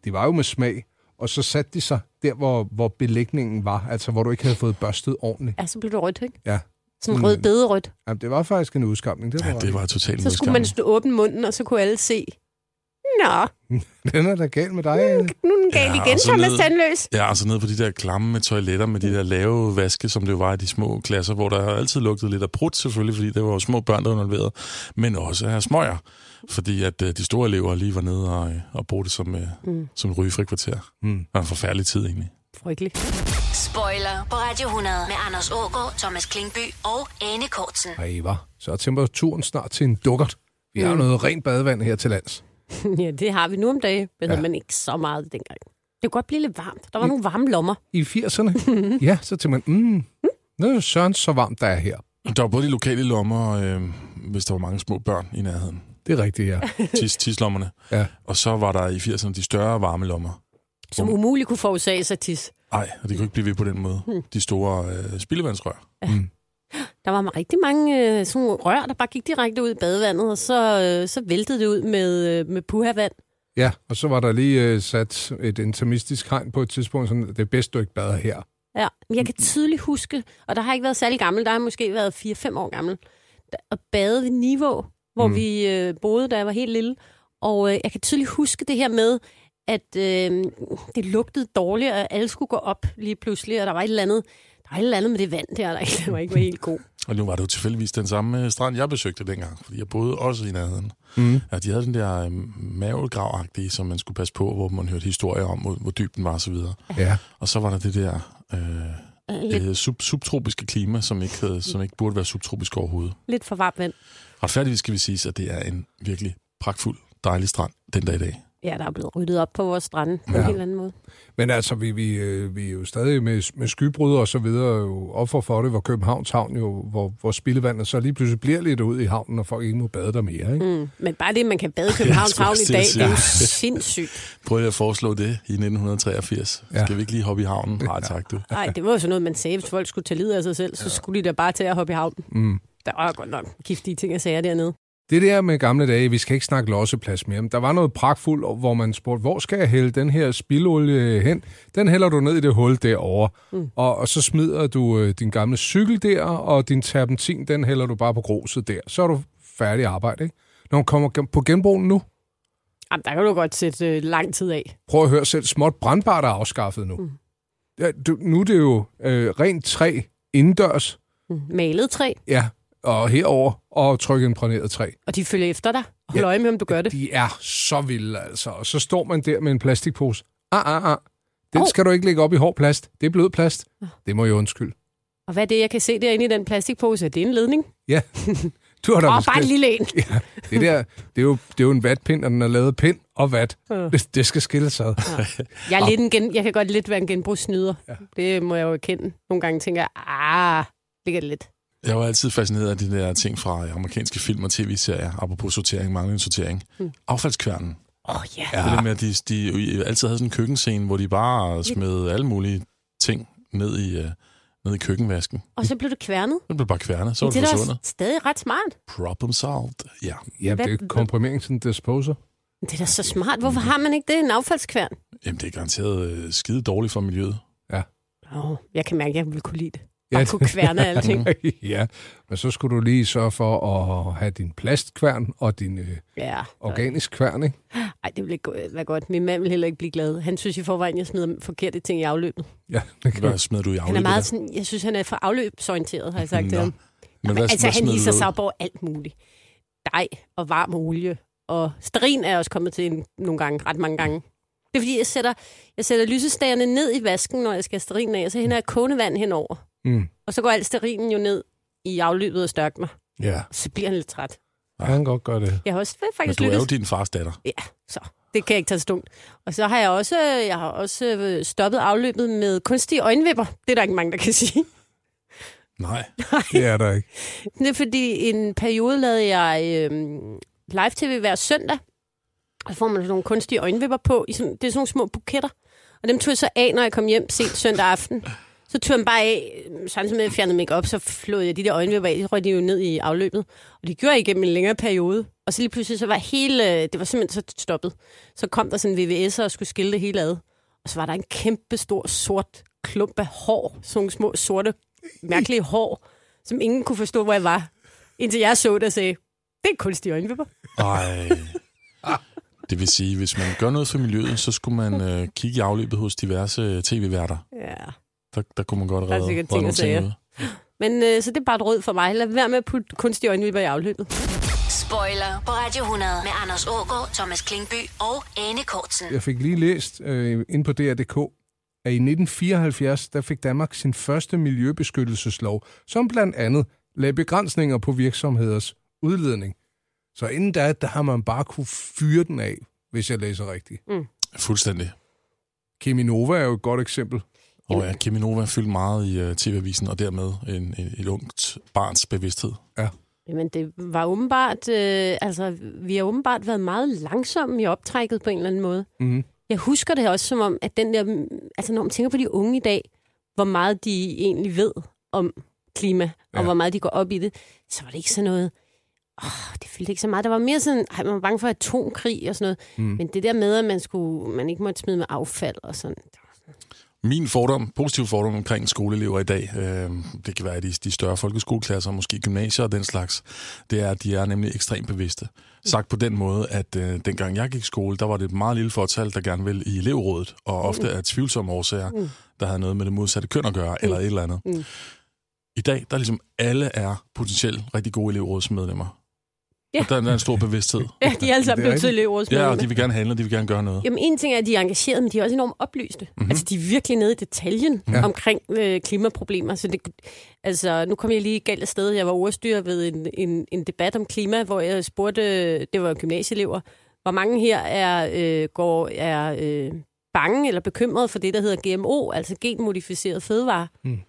det var jo med smag, og så satte de sig der, hvor, hvor belægningen var, altså hvor du ikke havde fået børstet ordentligt.
Ja, så blev det rødt, ikke?
Ja.
Sådan rød bederødt.
Jamen, det var faktisk en udskamning. Det var, ja,
det var totalt
Så skulle man stå åbne munden, og så kunne alle se. Nå,
Den er da galt med dig. Mm,
nu er den gal igen,
og så
Thomas
ned-
Tandløs.
Ja, og så nede på de der klamme med toiletter med de der lave vaske, som det jo var i de små klasser, hvor der altid lugtede lidt af prut selvfølgelig, fordi det var jo små børn, der var involveret, men også af smøger, fordi at øh, de store elever lige var nede og, øh, og brugte det som, øh,
Mm.
mm. som rygefrikvarter. Mm. Det var en forfærdelig tid egentlig.
frygtelig.
Spoiler på Radio 100 med Anders Ågaard, Thomas Klingby og Anne Kortsen.
Ej, hvad? Så er temperaturen snart til en dukkert. Vi har
Mm.
noget rent badevand her til lands.
ja, det har vi nu om dagen, men
Ja.
ja. man ikke så meget dengang. Det kunne godt blive lidt varmt. Der var nogle varme lommer.
I 80'erne? ja, så tænkte man, mm, nu er det Søren så varmt, der er her.
Der var både de lokale lommer, øh, hvis der var mange små børn i nærheden.
Det er rigtigt, ja.
Tis, tislommerne.
ja.
Og så var der i 80'erne de større varme lommer.
Som umuligt kunne forårsage sig tis.
Nej, og det kunne ikke blive ved på den måde.
Hmm.
De store øh, spildevandsrør.
Der var rigtig mange øh, sådan nogle rør, der bare gik direkte ud i badevandet, og så, øh, så væltede det ud med, øh, med puhavand.
Ja, og så var der lige øh, sat et intermistisk hegn på et tidspunkt, sådan, det er bedst, du ikke bader her.
Ja, men jeg kan tydeligt huske, og der har jeg ikke været særlig gammel, der har jeg måske været 4-5 år gammel, der- og bade ved Niveau, hvor
Mm.
mm. vi øh, boede, da jeg var helt lille. Og øh, jeg kan tydeligt huske det her med, at øh, det lugtede dårligt, og alle skulle gå op lige pludselig, og der var et eller andet, der var et eller andet med det vand der, der ikke, der var ikke var helt god.
Og nu var det jo tilfældigvis den samme øh, strand, jeg besøgte dengang, fordi jeg boede også i nærheden.
Mm.
Ja, de havde den der øh, mavegravagtige, som man skulle passe på, hvor man hørte historier om, hvor, hvor dyb den var osv.
Ja.
Og så var der det der øh, øh, sub, subtropiske klima, som ikke, havde, som ikke burde være subtropisk overhovedet.
Lidt for varmt vand.
Retfærdigvis skal vi sige, at det er en virkelig pragtfuld, dejlig strand den dag i dag.
Ja, der er blevet ryddet op på vores strande på
Ja.
en helt anden måde.
Men altså, vi, vi, øh, vi er jo stadig med, med skybrud og så videre jo offer for det, hvor Københavns Havn jo, hvor, hvor spildevandet så lige pludselig bliver lidt ud i havnen, og folk ikke må bade der mere, ikke?
Mm. Men bare det, man kan bade i Københavns
skulle
Havn
jeg
i dag,
til
det er
at
jo
sige.
sindssygt.
Prøvede jeg at foreslå det i 1983. Ja. Skal vi ikke lige hoppe i havnen? Nej, tak du.
Nej, det var jo sådan noget, man sagde, hvis folk skulle tage livet af sig selv, så skulle de da bare til at hoppe i havnen.
Mm.
Der var godt nok giftige ting at sager dernede.
Det der med gamle dage, vi skal ikke snakke losseplads mere, men der var noget pragtfuldt, og hvor man spurgte, hvor skal jeg hælde den her spildolie hen? Den hælder du ned i det hul derovre, mm. og, og så smider du øh, din gamle cykel der, og din terpentin, den hælder du bare på gruset der. Så er du færdig arbejde, ikke? Når man kommer gen- på genbrugen nu,
Jamen, der kan du godt sætte øh, lang tid af.
prøv at høre selv, småt brandbart er afskaffet nu. Mm. Ja, du, nu er det jo øh, rent træ indendørs,
Mm. Malet træ,
ja, og herover og trykimprægneret træ.
og de følger efter dig. Og Hold øje med, om du gør det.
De er så vilde, altså. Og så står man der med en plastikpose. Ah, ah, ah. Den skal du ikke lægge op i hård plast. Det er blød plast. Det må jeg undskylde.
Og hvad er det, jeg kan se derinde i den plastikpose? Er det en ledning?
Ja, du har da
Åh,
måske...
bare en lille en.
Ja, det der, det er jo, det er jo en vatpind, og den er lavet af pind og vat.
Ja.
Det, det skal skilles ad.
Jeg, er lidt en gen... jeg kan godt lidt være en genbrugsnyder. Ja. Det må jeg jo erkende. Nogle gange tænker jeg, ah, det kan lidt.
Jeg var altid fascineret af de der ting fra øh, amerikanske film og tv-serier, apropos sortering, manglende sortering. Mm. Affaldskværnen.
Åh, oh, ja.
Ja. Det der med, at de, de jo altid havde sådan en køkkenscene, hvor de bare smed alle mulige ting ned i, øh, ned i køkkenvasken.
Og så blev du kværnet.
Den blev bare kværnet, så var
Men
det
det er da
forsvundet.
også stadig ret smart.
Problem solved. Ja.
Ja, det er komprimering sådan disposer.
Det er da så smart. Hvorfor har man ikke det? En affaldskværn?
Jamen, det er garanteret øh, skide dårligt for miljøet.
Ja.
Oh, jeg kan mærke, at jeg ville kunne lide det. Bare kunne kværne alting.
ja, men så skulle du lige sørge for at have din plastkværn og din øh,
Ja.
organisk kværn, ikke?
Ej, det ville ikke gå- være godt. Min mand ville heller ikke blive glad. Han synes i forvejen, jeg smider forkerte ting i afløbet.
Ja, det
Hvad smed du i
Han
afløbet?
er meget
der?
sådan, jeg synes, han er for afløbsorienteret, har jeg sagt til
Nå.
ham.
Men
Hvad,
hvad,
altså,
hvad
han
smed
viser
du
sig
derud?
op over alt muligt. Dej og varm olie. Og sterin er jeg også kommet til en, nogle gange, ret mange gange. Det er fordi, jeg sætter, jeg sætter lysestagerne ned i vasken, når jeg skal have sterin af, og så hænder jeg kogende vand henover.
Mm.
Og så går alt sterinen jo ned i afløbet og størkner.
Ja.
Så bliver han lidt træt.
Ja, han kan godt gøre det.
Jeg har også
Men
faktisk
du er jo
lyttet.
din fars datter.
Ja, så. Det kan jeg ikke tage stundt. Og så har jeg også, jeg har også øh, stoppet afløbet med kunstige øjenvipper. Det er der ikke mange, der kan sige.
Nej,
det er der ikke.
Det er fordi, en periode lavede jeg øhm, live-tv hver søndag. Og så får man sådan nogle kunstige øjenvipper på. I sådan, det er sådan nogle små buketter. Og dem tog jeg så af, når jeg kom hjem sent søndag aften. Så tog jeg dem bare af, øhm, samtidig med at jeg fjernede mig op, så flåede jeg de der øjenvipper af, så røg de jo ned i afløbet. Og det gjorde jeg igennem en længere periode. Og så lige pludselig, så var hele, det var simpelthen så stoppet. Så kom der sådan en VVS'er og skulle skille det hele ad. Og så var der en kæmpe stor sort klump af hår, sådan nogle små sorte, mærkelige hår, som ingen kunne forstå, hvor jeg var. Indtil jeg så det og sagde, det er kunstige øjenvipper.
Ej. Det vil sige, hvis man gør noget for miljøet, så skulle man øh, kigge i afløbet hos diverse øh, tv-værter.
Ja.
Der, der kunne man godt
Der er
redde, redde
sikkert ting
nogle
og sager.
ting ud.
Men øh, så det er bare et råd for mig. Lad være med at putte kunstige øjenvipper i afløbet.
Spoiler på Radio 100 med Anders Ågaard, Thomas Klingby og Anne Kortsen.
Jeg fik lige læst øh, ind på DR.dk, at i 1974, der fik Danmark sin første miljøbeskyttelseslov, som blandt andet lagde begrænsninger på virksomheders udledning. Så inden da, der har man bare kunne fyre den af, hvis jeg læser rigtigt.
Mm.
Fuldstændig.
Keminova er jo et godt eksempel.
Og ja, Keminova fyldt meget i uh, TV-avisen, og dermed en, en, et ungt barns bevidsthed.
Ja.
Jamen, det var åbenbart... Øh, altså, vi har åbenbart været meget langsomme i optrækket på en eller anden måde.
Mm-hmm.
Jeg husker det også som om, at den der... Altså, når man tænker på de unge i dag, hvor meget de egentlig ved om klima, og
Ja.
hvor meget de går op i det, så var det ikke sådan noget... Åh, det fyldte ikke så meget. Der var mere sådan, ej, man var bange for atomkrig og sådan noget.
Mm.
Mm. Men det der med, at man, skulle, man ikke måtte smide med affald og sådan,
Min fordom, positiv fordom omkring skoleelever i dag, øh, det kan være i de, de større folkeskoleklasser, måske gymnasier og den slags, det er, at de er nemlig ekstremt bevidste. Sagt på den måde, at øh, dengang jeg gik i skole, der var det et meget lille fortal, der gerne ville i elevrådet, og ofte af tvivlsomme årsager,
Mm.
der havde noget med det modsatte køn at gøre, eller et eller andet.
Mm.
I dag, der er ligesom alle er potentielt rigtig gode elevrådsmedlemmer.
Ja.
Og der, er- der er en stor bevidsthed.
Ja, de er alle sammen blevet til elevrådsmedlemmer.
Ja, og de vil gerne handle, de vil gerne gøre noget.
Jamen en ting er, at de er engagerede, men de er også enormt oplyste.
Mhm.
Mm-hmm. Altså de er virkelig nede i detaljen
Ja.
ja. omkring øh, klimaproblemer. Så det, altså, nu kom jeg lige galt af sted. Jeg var ordstyrer ved en, en, en debat om klima, hvor jeg spurgte, øh, det var gymnasieelever, hvor mange her er, øh, går, er øh, bange eller bekymrede for det, der hedder GMO, altså genmodificeret fødevare.
Mm.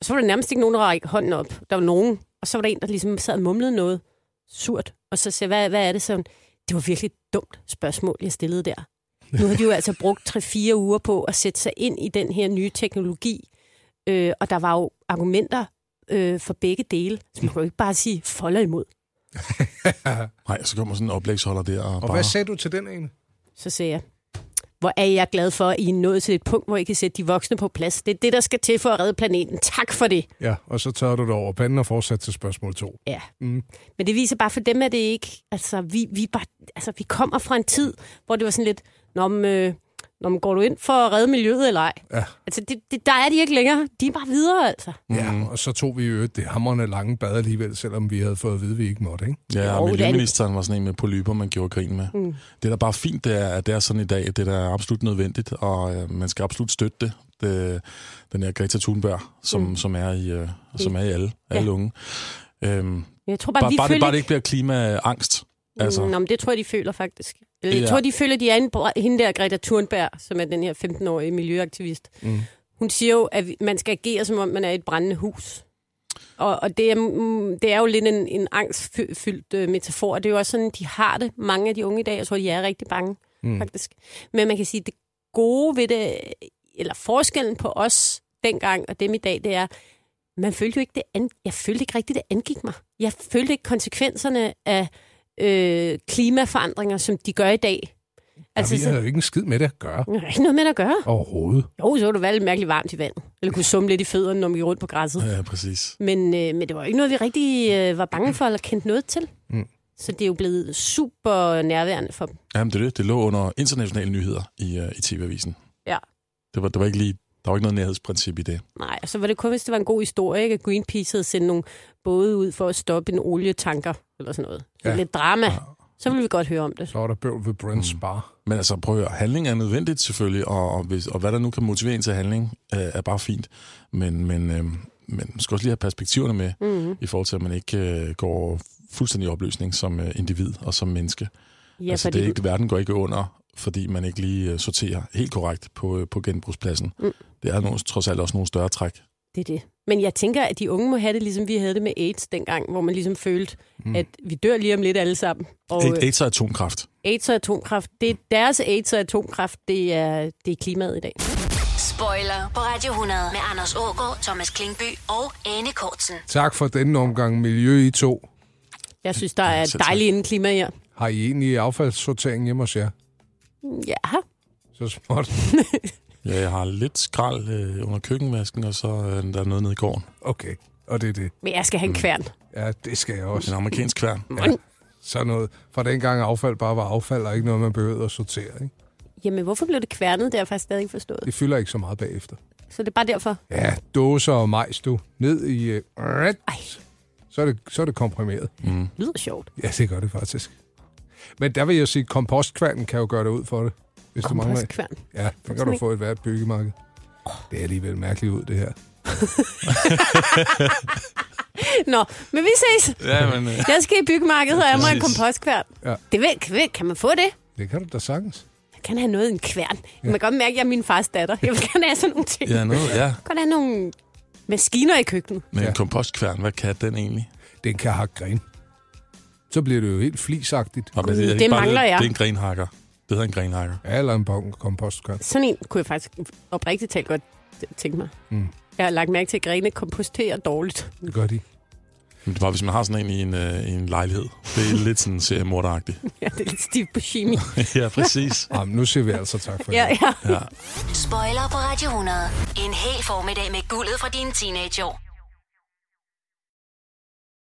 Og så var der nærmest ikke nogen, der rækkede hånden op. Der var nogen, og så var der en, der ligesom sad og mumlede noget surt. Og så sagde jeg, hvad, hvad er det sådan? Det var virkelig et dumt spørgsmål, jeg stillede der. Nu har de jo altså brugt 3-4 uger på at sætte sig ind i den her nye teknologi. Øh, og der var jo argumenter øh, for begge dele. Så man kan jo ikke bare sige folder imod.
Nej, så kommer sådan en oplægsholder der og,
Og
bare...
hvad sagde du til den ene?
Så sagde jeg, hvor er jeg glad for, at I er nået til et punkt, hvor I kan sætte de voksne på plads. Det er det, der skal til for at redde planeten. Tak for det.
Ja, og så tørrer du det over panden og fortsætter til spørgsmål 2.
Ja.
Mm.
Men det viser bare, for dem er det ikke... Altså, vi, vi, er bare, altså, vi kommer fra en tid, hvor det var sådan lidt... Nå, men, øh, nå, men går du ind for at redde miljøet eller ej?
Ja.
Altså, det, det, der er de ikke længere. De er bare videre, altså.
Ja, Mhm. og så tog vi i øvrigt det hammerne lange bad alligevel, selvom vi havde fået at vide, at vi ikke måtte, ikke?
Ja,
Jo,
og
det er det.
miljøministeren var sådan en med polyper, man gjorde grin med. Mm. Det, der bare er fint, det er, at det er sådan i dag, at det der er absolut nødvendigt, og øh, man skal absolut støtte det. det den her Greta Thunberg, som, mm. som, er, i, øh, som er i alle, alle
Ja.
unge. Øhm,
Jeg tror bare,
bare,
vi
bare, det,
føler
bare det
ikke-
ikke bliver klimaangst. Altså,
Mm, Nå, men det tror jeg, de føler faktisk. Eller, jeg
Ja.
tror, de føler, de er en, br- hende der, Greta Thunberg, som er den her 15-årige miljøaktivist.
Mm.
Hun siger jo, at vi- man skal agere, som om man er i et brændende hus. Og, og det, er, mm, det er jo lidt en, en angstfyldt øh, metafor. og Det er jo også sådan, de har det, mange af de unge i dag. Jeg tror, de er rigtig bange,
Mm.
mm. faktisk. Men man kan sige, at det gode ved det, eller forskellen på os dengang og dem i dag, det er, man følte jo ikke det an... jeg følte ikke rigtigt, det angik mig. Jeg følte ikke konsekvenserne af øh, klimaforandringer, som de gør i dag.
Altså, ja, vi
så-
havde jo ikke en skid med det at gøre.
Der er ikke noget med det at gøre.
Overhovedet.
Jo, så var det være lidt mærkeligt varmt i vandet. Eller kunne summe lidt i fødderne, når vi gik rundt på græsset.
ja, præcis.
Men, øh, men det var jo ikke noget, vi rigtig øh, var bange for eller kendte noget til.
Mm.
Så det er jo blevet super nærværende for dem.
Jamen, det, er det. det lå under internationale nyheder i, øh, i TV-avisen.
Ja.
Det var, det var ikke lige, der var ikke noget nærhedsprincip i det.
Nej, og så var det kun, hvis det var en god historie, ikke? at Greenpeace havde sendt nogle både ud for at stoppe en olietanker eller sådan noget.
Ja.
Ja. Lidt drama. Så ville vi godt høre om det.
Så var der bøvl ved Brent's mm. Bar.
Men altså, prøv at høre. Handling er nødvendigt selvfølgelig, og, og, hvis, og hvad der nu kan motivere en til handling, øh, er bare fint. Men, men, øh, men man skal også lige have perspektiverne med,
Mhm.
mm-hmm. i forhold til, at man ikke øh, går fuldstændig i opløsning som øh, individ og som menneske.
Ja,
altså,
fordi
det er
du-
ikke, verden går ikke under, fordi man ikke lige øh, sorterer helt korrekt på, øh, på genbrugspladsen.
Mm.
Mm. Det er nogle, trods alt også nogle større træk.
Det er det. Men jeg tænker, at de unge må have det, ligesom vi havde det med AIDS dengang, hvor man ligesom følte,
Mm.
mm. at vi dør lige om lidt alle sammen. Og
Og,
øh,
AIDS og atomkraft.
AIDS og atomkraft, det er deres AIDS og atomkraft, det er, det er klimaet i dag.
Spoiler på Radio 100 med Anders Ågaard, Thomas Klingby og Anne Kortsen.
Tak for denne omgang Miljø i to.
Jeg synes, der er dejligt indeklima her.
Har I egentlig affaldssortering hjemme hos jer?
Ja.
Så småt.
Ja, jeg har lidt skrald øh, under køkkenvasken, og så øh, der er noget nede i gården.
Okay, og det er det.
Men jeg skal have en
Mm.
kværn.
Ja, det skal jeg også.
En amerikansk kværn.
Ja, sådan noget. Fra dengang affald bare var affald, og ikke noget, man behøvede at sortere. Ikke?
Jamen, hvorfor blev det kværnet? Det har jeg faktisk stadig ikke forstået.
Det fylder ikke så meget bagefter.
Så det er bare derfor.
Ja, dåser og majs, du. Ned i... Øh, så, er det, så er det komprimeret.
Mm.
lyder sjovt.
Ja, det gør det faktisk. Men der vil jeg sige, at kompostkværnen kan jo gøre det ud for det. Hvis du mangler.
Kompostkværn?
Ja, den kan du få i hvert byggemarked. Det er alligevel mærkeligt ud, det her.
Nå, men vi ses.
Ja, men, øh.
Jeg skal i byggemarkedet, og jeg må have en
Præcis.
kompostkværn.
Ja.
Det ved, ved, kan man få det?
Det kan du da sagtens.
Jeg kan have noget i en kværn. Man kan godt mærke, at jeg er min fars datter. Jeg vil gerne have sådan nogle ting.
Ja, noget, ja.
Jeg vil godt have nogle maskiner i køkkenet.
Men en kompostkværn, hvad kan den egentlig?
Den kan hakke gren. Så bliver det jo helt flisagtigt.
Og
Det
ikke bare
mangler
det,
jeg.
Det er en grenhakker. Det hedder en grenhakker.
Ja, eller en bong kompostkværn.
Sådan en kunne jeg faktisk oprigtigt talt godt tænke mig.
Mm.
Jeg har lagt mærke til, at grene komposterer dårligt.
Det gør de.
Men det er bare, hvis man har sådan en i en, øh, i en lejlighed. Det er lidt sådan seriemorderagtigt.
Ja, det er lidt stift på kemi.
ja, præcis.
Jamen, nu siger vi altså tak
Ja, ja.
ja.
Spoiler på Radio 100. En hel formiddag med guldet fra dine teenageår.